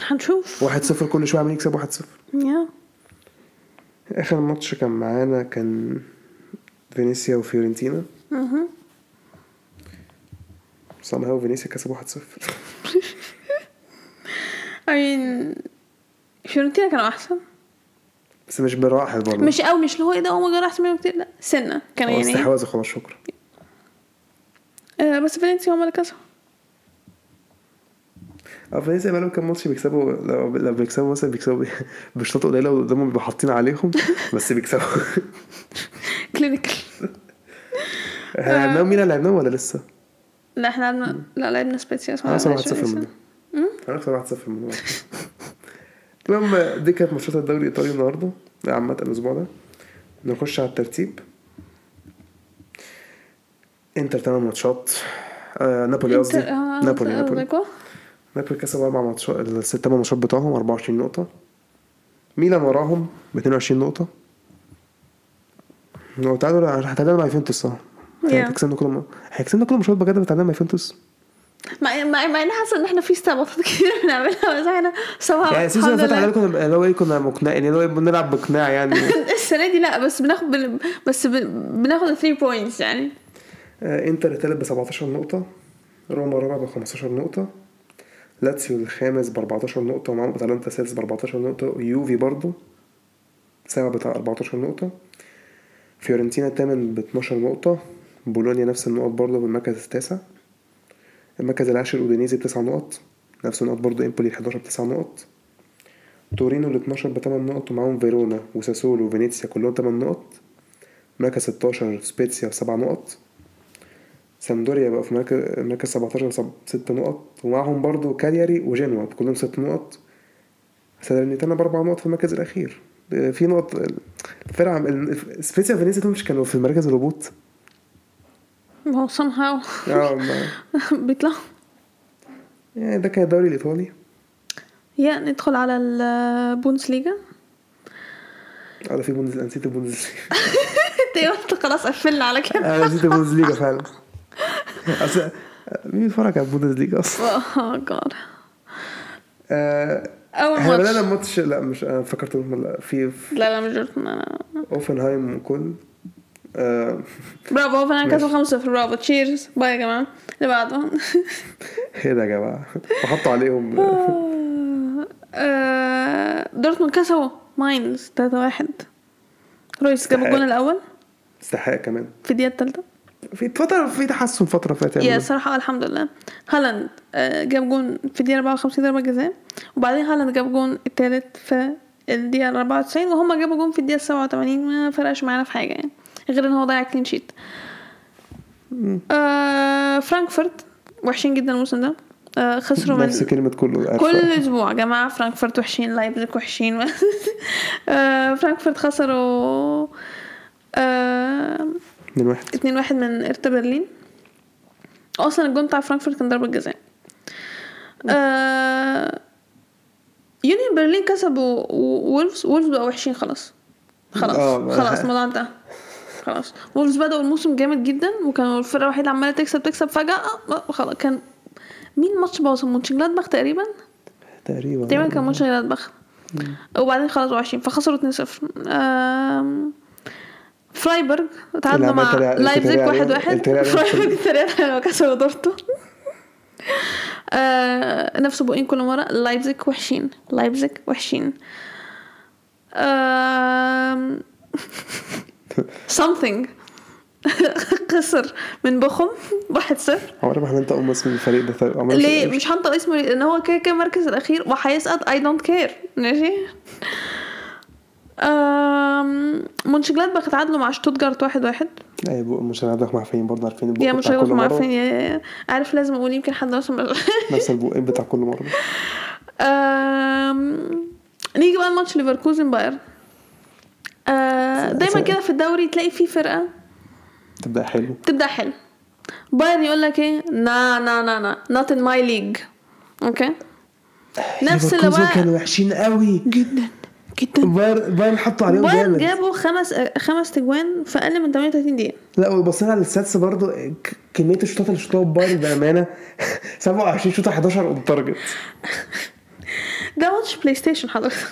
Speaker 1: هنشوف
Speaker 2: 1-0 كل شويه عمالين يكسبوا 1-0
Speaker 1: يا
Speaker 2: اخر ماتش كان معانا كان فينيسيا وفيورنتينا
Speaker 1: مهم.
Speaker 2: صامها وفينيسيا كسبوا 1-0
Speaker 1: I mean فيورنتينا كانوا أحسن
Speaker 2: بس مش بالراحه برضه
Speaker 1: مش قوي مش اللي هو ايه ده هو مجرد احسن منهم كتير لا سنه كان
Speaker 2: خلاص
Speaker 1: يعني
Speaker 2: استحواذوا خلاص شكرا
Speaker 1: آه بس فالنسيا هم اللي كسبوا
Speaker 2: اه فينيسيا بقالهم كام ماتش بيكسبوا لو, لو بيكسبوا مثلا بيكسبوا بشوطات قليله وقدامهم بيبقوا حاطين عليهم بس بيكسبوا
Speaker 1: كلينيكال
Speaker 2: احنا لعبناهم مين لعبناهم ولا لسه؟
Speaker 1: لا احنا لعبنا لا لعبنا سبيتسيا
Speaker 2: انا
Speaker 1: اسمها
Speaker 2: اكثر 1 0 منه انا اكثر 1 0 منه المهم دي كانت ماتشات الدوري الايطالي النهارده عامه الاسبوع ده نخش على الترتيب انتر 8 ماتشات آه نابولي قصدي نابولي
Speaker 1: آه،
Speaker 2: نابولي نابولي كسبوا اربع ماتشات الست ثمان ماتشات بتوعهم 24 نقطه ميلان وراهم ب 22 نقطه لو تعادلوا هتعادلوا مع يوفنتوس صح؟ يعني هيكسبنا كل م- هيكسبنا كل الماتشات بجد بتعادلنا مع يوفنتوس
Speaker 1: مع مع مع اني حاسه ان احنا في استعباطات كتير بنعملها بس احنا سوا
Speaker 2: يعني السيزون اللي فات على كنا اللي هو ايه كنا مقنع يعني اللي هو إيه بنلعب بقناع يعني
Speaker 1: السنه دي لا بس بناخد بن... بس بن... بناخد 3 بوينتس يعني
Speaker 2: آه، انتر الثالث ب 17 نقطة روما الرابع ب 15 نقطة لاتسيو الخامس ب 14 نقطة ومعاهم اتلانتا السادس ب 14 نقطة يوفي برضه سابع ب 14 نقطة فيورنتينا الثامن ب 12 نقطة بولونيا نفس النقط برضه بالمركز التاسع المركز العاشر اودينيزي ب 9 نقط نفس النقط برضه امبولي 11 ب 9 نقط تورينو ال 12 ب 8 نقط ومعاهم فيرونا وساسولو وفينيسيا كلهم 8 نقط مركز 16 سبيتسيا ب 7 نقط سامدوريا بقى في مركز مركز 17 بسب- ست نقط ومعهم برضو كالياري وجنوا كلهم ست نقط سالرنيتانا باربع نقط في المركز الاخير آه، في نقط الفرقه عم- ال- سبيتسيا وفينيسيا دول مش كانوا في مركز الهبوط
Speaker 1: ما هو somehow
Speaker 2: آه، ما-
Speaker 1: بيطلعوا
Speaker 2: يعني ده كان الدوري الايطالي
Speaker 1: يا ندخل على البونس ليجا
Speaker 2: اه ده في بوندز أنا نسيت البوندز
Speaker 1: انت قلت طيب، خلاص قفلنا على كده
Speaker 2: انا آه، نسيت البوندز ليجا فعلا اصل آه، مين بيتفرج على البوندز ليجا اصلا
Speaker 1: اوه جاد
Speaker 2: آه،
Speaker 1: اول
Speaker 2: احنا بدانا
Speaker 1: ماتش
Speaker 2: الماتش لا مش انا فكرت في في
Speaker 1: لا لا مش دورتموند انا
Speaker 2: اوفنهايم وكل آه،
Speaker 1: برافو هو فعلا كسبوا
Speaker 2: ماشي.
Speaker 1: 5 0 برافو تشيرز باي يا جماعه اللي بعده
Speaker 2: ايه ده يا جماعه وحطوا عليهم
Speaker 1: آه، دورتموند كسبوا ماينز 3 1 رويس جاب الجون الاول
Speaker 2: استحقاق كمان
Speaker 1: في الدقيقه الثالثه
Speaker 2: في فتره في تحسن فتره فاتت يعني.
Speaker 1: يا
Speaker 2: يا
Speaker 1: صراحة الحمد لله هالاند آه، جاب جون في الدقيقة 54 ضربة جزاء وبعدين هالاند جاب جون التالت في الدقيقة 94 وهما جابوا جون في الدقيقة 87 ما فرقش معانا في حاجة يعني غير ان هو ضيع كلين شيت آه فرانكفورت وحشين جدا الموسم ده آه خسروا من
Speaker 2: نفس كلمه كله عارفة.
Speaker 1: كل اسبوع يا جماعه فرانكفورت وحشين لايبزيج وحشين آه، فرانكفورت خسروا آه،
Speaker 2: من واحد
Speaker 1: 2 واحد من ارتا برلين اصلا الجون بتاع فرانكفورت كان ضربه جزاء آه، يونيون برلين كسبوا و- وولفز وولفز بقى وحشين خلاص خلاص
Speaker 2: آه،
Speaker 1: خلاص الموضوع انتهى خلاص وولفز بدأوا الموسم جامد جدا وكانوا الفرقة الوحيدة عمالة تكسب تكسب فجأة آه، خلاص كان مين ماتش باظهم مونشنجلادباخ تقريبا
Speaker 2: تقريبا
Speaker 1: تقريبا كان ماتش جلادباخ وبعدين خلاص وحشين فخسروا 2-0 آم، فرايبرج تعادلوا
Speaker 2: العمل
Speaker 1: مع
Speaker 2: التريقة-
Speaker 1: لايبزيج
Speaker 2: التريقة
Speaker 1: 1-1
Speaker 2: عليهم- التريقة عليهم
Speaker 1: فرايبرج اتريقت على كسبوا دورتموند آه، نفس بوقين كل مرة لايبزيج وحشين لايبزيج وحشين آم، something خسر من بخم 1-0
Speaker 2: عمري ما هننطق ام اسم الفريق ده طيب، عمري ما-
Speaker 1: ليه مش هنطق اسمه ليه؟ لان هو كده كده المركز الاخير وهيسقط اي دونت كير ماشي أم، مونشنجلادباخ اتعادلوا مع شتوتجارت واحد واحد
Speaker 2: اي بو- مش هنعرف عارفين برضه عارفين البوق
Speaker 1: يا مش
Speaker 2: بتاع كل
Speaker 1: هيغلطوا
Speaker 2: مره
Speaker 1: عارفين يا- عارف لازم اقول يمكن حد وصل
Speaker 2: نفس البوقين بتاع كل مره
Speaker 1: نيجي بقى لماتش ليفركوزن بايرن أه، دايما كده في الدوري تلاقي فيه فرقه
Speaker 2: تبدا حلو
Speaker 1: تبدا حلو بايرن يقول لك ايه نا نا نا نا نوت ان ماي ليج اوكي نفس اللي
Speaker 2: ليفركوزن
Speaker 1: بقى
Speaker 2: كانوا وحشين قوي
Speaker 1: جدا جدا
Speaker 2: بايرن بايرن حطوا عليهم
Speaker 1: بايرن
Speaker 2: جامد
Speaker 1: جابوا خمس خمس تجوان في اقل من 38 دقيقه
Speaker 2: لا وبصينا على الستاتس برضه ك- كميه الشوطات اللي شوطها بايرن بامانه 27 شوطه 11 اون تارجت
Speaker 1: ده ماتش بلاي ستيشن حضرتك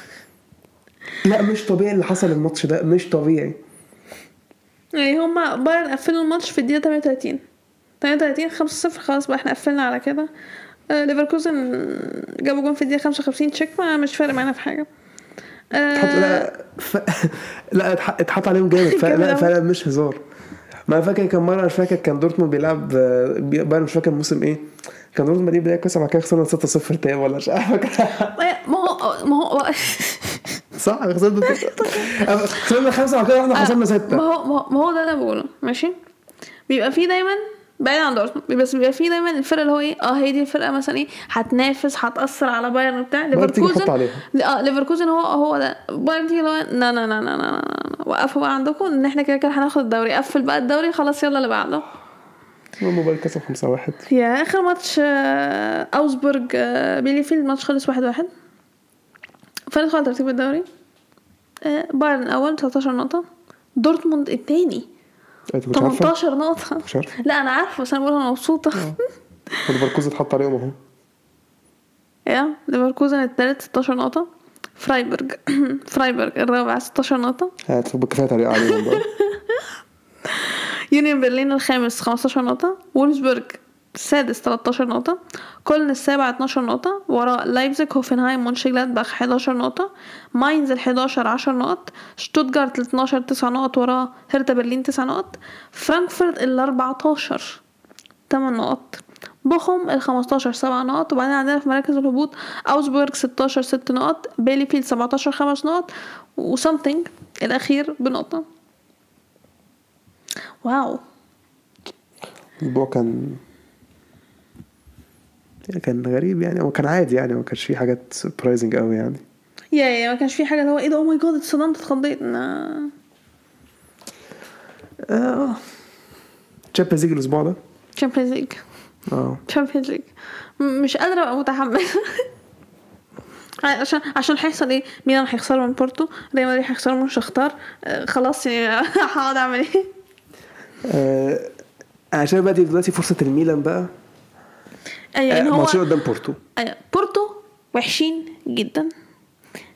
Speaker 2: لا مش طبيعي اللي حصل الماتش ده مش طبيعي
Speaker 1: يعني هما بايرن قفلوا الماتش في الدقيقه 38 38 5 0 خلاص بقى احنا قفلنا على كده آه، ليفركوزن جابوا جون في الدقيقه 55 تشيك ما مش فارق معانا في حاجه
Speaker 2: اتحط
Speaker 1: آه
Speaker 2: لا ف... لا اتح- اتحط عليهم جامد ف...
Speaker 1: جامد
Speaker 2: لا
Speaker 1: أوي.
Speaker 2: فعلا مش هزار ما أنا فاكر كان مره مش فاكر كان دورتموند بيلعب آه، بي- بايرن مش فاكر موسم ايه كان دورتموند دي بدايه كويسه بعد كده خسرنا 6-0 تاني ولا مش عارف
Speaker 1: آه، ما هو ما هو
Speaker 2: صح خسرنا خسرنا خمسه بعد كده
Speaker 1: آه.
Speaker 2: احنا خسرنا سته
Speaker 1: ما هو ما هو- ما هو ده اللي أنا بقوله ماشي بيبقى فيه دايما بعيد عن دورتموند بس بيبقى فيه دايما الفرقه اللي هو ايه اه هي دي الفرقه مثلا ايه هتنافس هتاثر على بايرن وبتاع
Speaker 2: بايرن تيجي تحط
Speaker 1: ليفركوزن
Speaker 2: عليها.
Speaker 1: اه ليفركوزن هو هو ده بايرن تيجي اللي هو لا لا لا لا لا لا لا. وقفوا بقى عندكم ان احنا كده كده هناخد الدوري قفل بقى الدوري خلاص يلا اللي بعده
Speaker 2: المهم بايرن كسب 5-1
Speaker 1: يا اخر ماتش آه، اوزبورج آه، بيليفيلد ماتش خلص واحد واحد فندخل على ترتيب الدوري آه، بايرن الاول 19 نقطه دورتموند الثاني
Speaker 2: انت إيه، كنت عارفه
Speaker 1: 18 نقطة
Speaker 2: مش عارفة.
Speaker 1: لا أنا عارفة بس أنا بقول أنا مبسوطة
Speaker 2: ليفركوزن اتحط عليهم اهو
Speaker 1: يا ليفركوزن التالت 16 نقطة فرايبرج فرايبرج الرابع 16 نقطة
Speaker 2: هات كفايه تريقه عليهم بقى
Speaker 1: يونيون برلين الخامس 15 نقطة وولفسبرج السادس 13 نقطة كولن السابع 12 نقطة وراء لايبزيج هوفنهايم مونشنجلادباخ 11 نقطة ماينز ال 11 10 نقط شتوتجارت ال 12 9 نقط وراء هرتا برلين 9 نقط فرانكفورت ال 14 8 نقط بوخم ال 15 7 نقط وبعدين عندنا في مراكز الهبوط اوزبورج 16 6 نقط بيلي فيلد 17 5 نقط وسامثينج الاخير بنقطة واو
Speaker 2: الاسبوع كان كان غريب يعني هو كان عادي يعني ما كانش فيه حاجات سربرايزنج قوي يعني
Speaker 1: يا يا ما كانش في حاجه اللي هو ايه ده او ماي جاد اتصدمت اتخضيت نا-
Speaker 2: اه تشامبيونز ليج الاسبوع ده
Speaker 1: Champions ليج
Speaker 2: اه
Speaker 1: Champions ليج م- مش قادره ابقى متحمسه عشان عشان هيحصل ايه ميلان هيخسروا من بورتو ريال مدريد هيخسروا من شختار آه، خلاص يعني هقعد اعمل ايه
Speaker 2: آه، عشان بقى دي دلوقتي فرصه الميلان بقى
Speaker 1: ايوه
Speaker 2: آه،
Speaker 1: يعني هو
Speaker 2: ماتشين قدام بورتو
Speaker 1: أيوة، بورتو وحشين جدا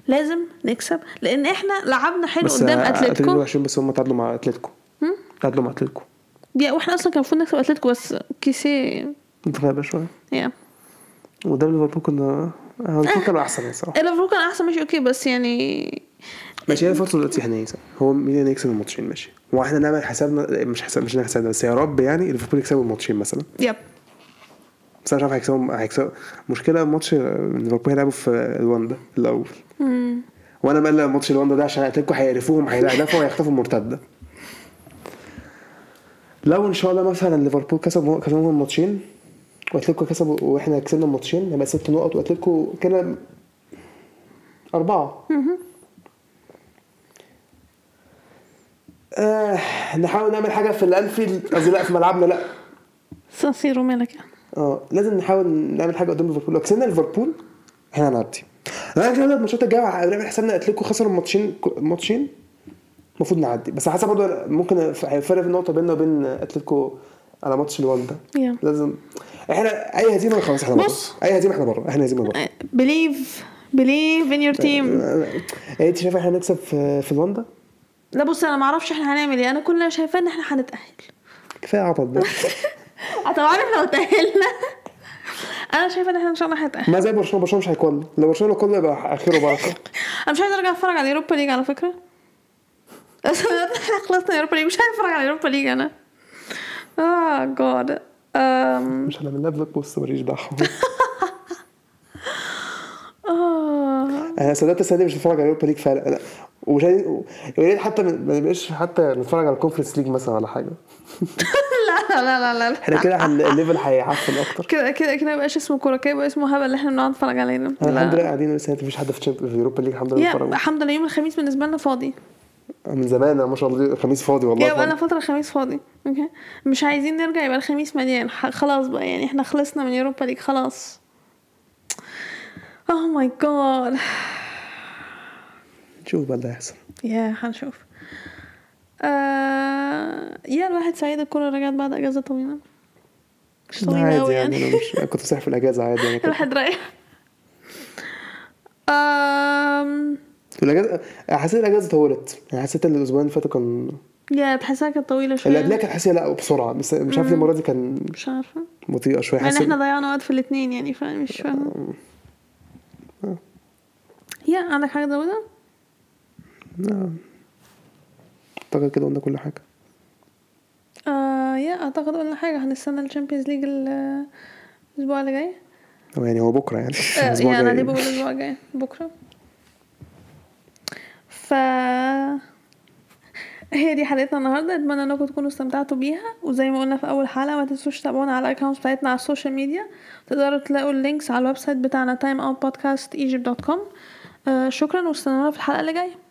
Speaker 1: لازم نكسب لان احنا لعبنا حلو
Speaker 2: بس
Speaker 1: قدام
Speaker 2: آه،
Speaker 1: اتلتيكو
Speaker 2: وحشين بس هم تعادلوا مع اتلتيكو
Speaker 1: مم؟
Speaker 2: تعادلوا مع اتلتيكو
Speaker 1: يا واحنا اصلا كان المفروض نكسب اتلتيكو بس كيسيه
Speaker 2: متغابة شوية
Speaker 1: يا
Speaker 2: وقدام ليفربول كنا
Speaker 1: آه.
Speaker 2: هنفكر كانوا احسن يعني صراحة
Speaker 1: ليفربول كان احسن ماشي اوكي بس يعني
Speaker 2: ماشي هي فرصة دلوقتي احنا يكسب هو مين يكسب الماتشين ماشي هو احنا نعمل حسابنا مش حساب مش نعمل حسابنا بس يا رب يعني ليفربول يكسبوا الماتشين مثلا
Speaker 1: يب
Speaker 2: بس انا مش عارف هيكسبهم هيكسبوا مشكلة ماتش ليفربول هيلعبوا في رواندا الأول وانا مقلق ماتش رواندا ده عشان اتلتيكو هيعرفوهم هيدافعوا وهيخطفوا المرتدة لو ان شاء الله مثلا ليفربول كسب كسبوا الماتشين واتلتيكو كسبوا واحنا كسبنا الماتشين هيبقى ست نقط واتلتيكو كده أربعة آه نحاول نعمل حاجة في الأنفيلد قصدي لا في ملعبنا لا
Speaker 1: سانسيرو مالك يعني
Speaker 2: اه لازم نحاول نعمل حاجه قدام ليفربول لو كسبنا ليفربول احنا هنعدي لو احنا كسبنا الماتشات الجايه هنعمل حسابنا اتلتيكو خسروا الماتشين ماتشين المفروض نعدي بس على حسب برضه ممكن هيفرق في النقطه بيننا وبين اتلتيكو على ماتش الوالدة
Speaker 1: يا.
Speaker 2: لازم احنا اي هزيمه خلاص احنا بره
Speaker 1: بص.
Speaker 2: اي هزيمه احنا بره احنا هزيمه بره
Speaker 1: بليف بليف ان يور تيم
Speaker 2: إيه، انت شايف احنا هنكسب في في الوالدة
Speaker 1: لا بص انا ما اعرفش احنا هنعمل ايه انا كل اللي شايفاه ان احنا هنتاهل
Speaker 2: كفايه عبط ده
Speaker 1: طبعا عارف لو تاهلنا انا شايفه ان احنا ان شاء الله هنتاهل
Speaker 2: ما زي برشلونه برشلونه مش هيكون لو برشلونه كله يبقى اخره بركه
Speaker 1: انا مش عايزه ارجع اتفرج على اليوروبا ليج على فكره اصل دلوقتي احنا خلصنا اليوروبا ليج مش عايزه اتفرج على اليوروبا ليج انا اه جاد أم...
Speaker 2: مش هنعمل لها بلاك بوست ماليش دعوه
Speaker 1: اه
Speaker 2: انا صدقت السنه دي مش هتفرج على اليوروبا ليج فعلا لا ومش عايز- يا ريت حتى ما ما نبقاش حتى نتفرج على الكونفرنس ليج مثلا ولا حاجه
Speaker 1: لا لا لا لا, لا.
Speaker 2: احنا كده هن- الليفل هيعفن اكتر
Speaker 1: كده كده كده مبقاش اسمه كوره كده بقى اسمه هبل اللي احنا بنقعد نتفرج عليه ده
Speaker 2: أنا الحمد
Speaker 1: لا.
Speaker 2: لله قاعدين السنه دي مفيش حد في تشامب- في اليوروبا ليج الحمد لله
Speaker 1: يا
Speaker 2: بتفرج.
Speaker 1: الحمد لله يوم الخميس بالنسبه لنا فاضي
Speaker 2: من زمان أنا ما شاء الله الخميس فاضي والله
Speaker 1: يا انا
Speaker 2: فاضي.
Speaker 1: فتره الخميس فاضي اوكي مش عايزين نرجع يبقى الخميس مليان ح- خلاص بقى يعني احنا خلصنا من يوروبا ليج خلاص Oh اوه ماي جاد
Speaker 2: نشوف بقى اللي هيحصل
Speaker 1: يا هنشوف آه يا الواحد سعيد الكرة رجعت بعد أجازة طويلة مش طويلة
Speaker 2: عادي
Speaker 1: أوي
Speaker 2: يعني
Speaker 1: يعني
Speaker 2: انا مش أنا كنت صايح في الاجازه عادي يعني كنت-
Speaker 1: الواحد رايح آم،
Speaker 2: في الاجازه حسيت الاجازه طولت يعني حسيت ان الاسبوعين اللي فاتوا كان
Speaker 1: يا تحسها كانت طويلة شوية
Speaker 2: اللي قبلها كانت حاسس لا بسرعه بس مش عارف ليه المره دي كان
Speaker 1: مش عارفة
Speaker 2: بطيئه شويه
Speaker 1: مع ان
Speaker 2: حاسس
Speaker 1: احنا ضيعنا وقت في الاتنين يعني فمش فاهمة يا عندك حاجة تزودها؟
Speaker 2: نعم. اعتقد كده قلنا كل حاجه
Speaker 1: آه يا أعتقد قلنا حاجة هنستنى الشامبيونز ليج ال- الأسبوع اللي جاي
Speaker 2: هو يعني هو بكره يعني
Speaker 1: آه،
Speaker 2: الأسبوع
Speaker 1: يعني انا
Speaker 2: الجاي.
Speaker 1: ليه بقول الاسبوع الجاي بكره ف هي دي حلقتنا النهارده اتمنى انكم تكونوا استمتعتوا بيها وزي ما قلنا في اول حلقه ما تنسوش تتابعونا على الاكونتس بتاعتنا على السوشيال ميديا تقدروا تلاقوا اللينكس على الويب سايت بتاعنا timeoutpodcastegypt.com آه شكرا واستنونا في الحلقه اللي جايه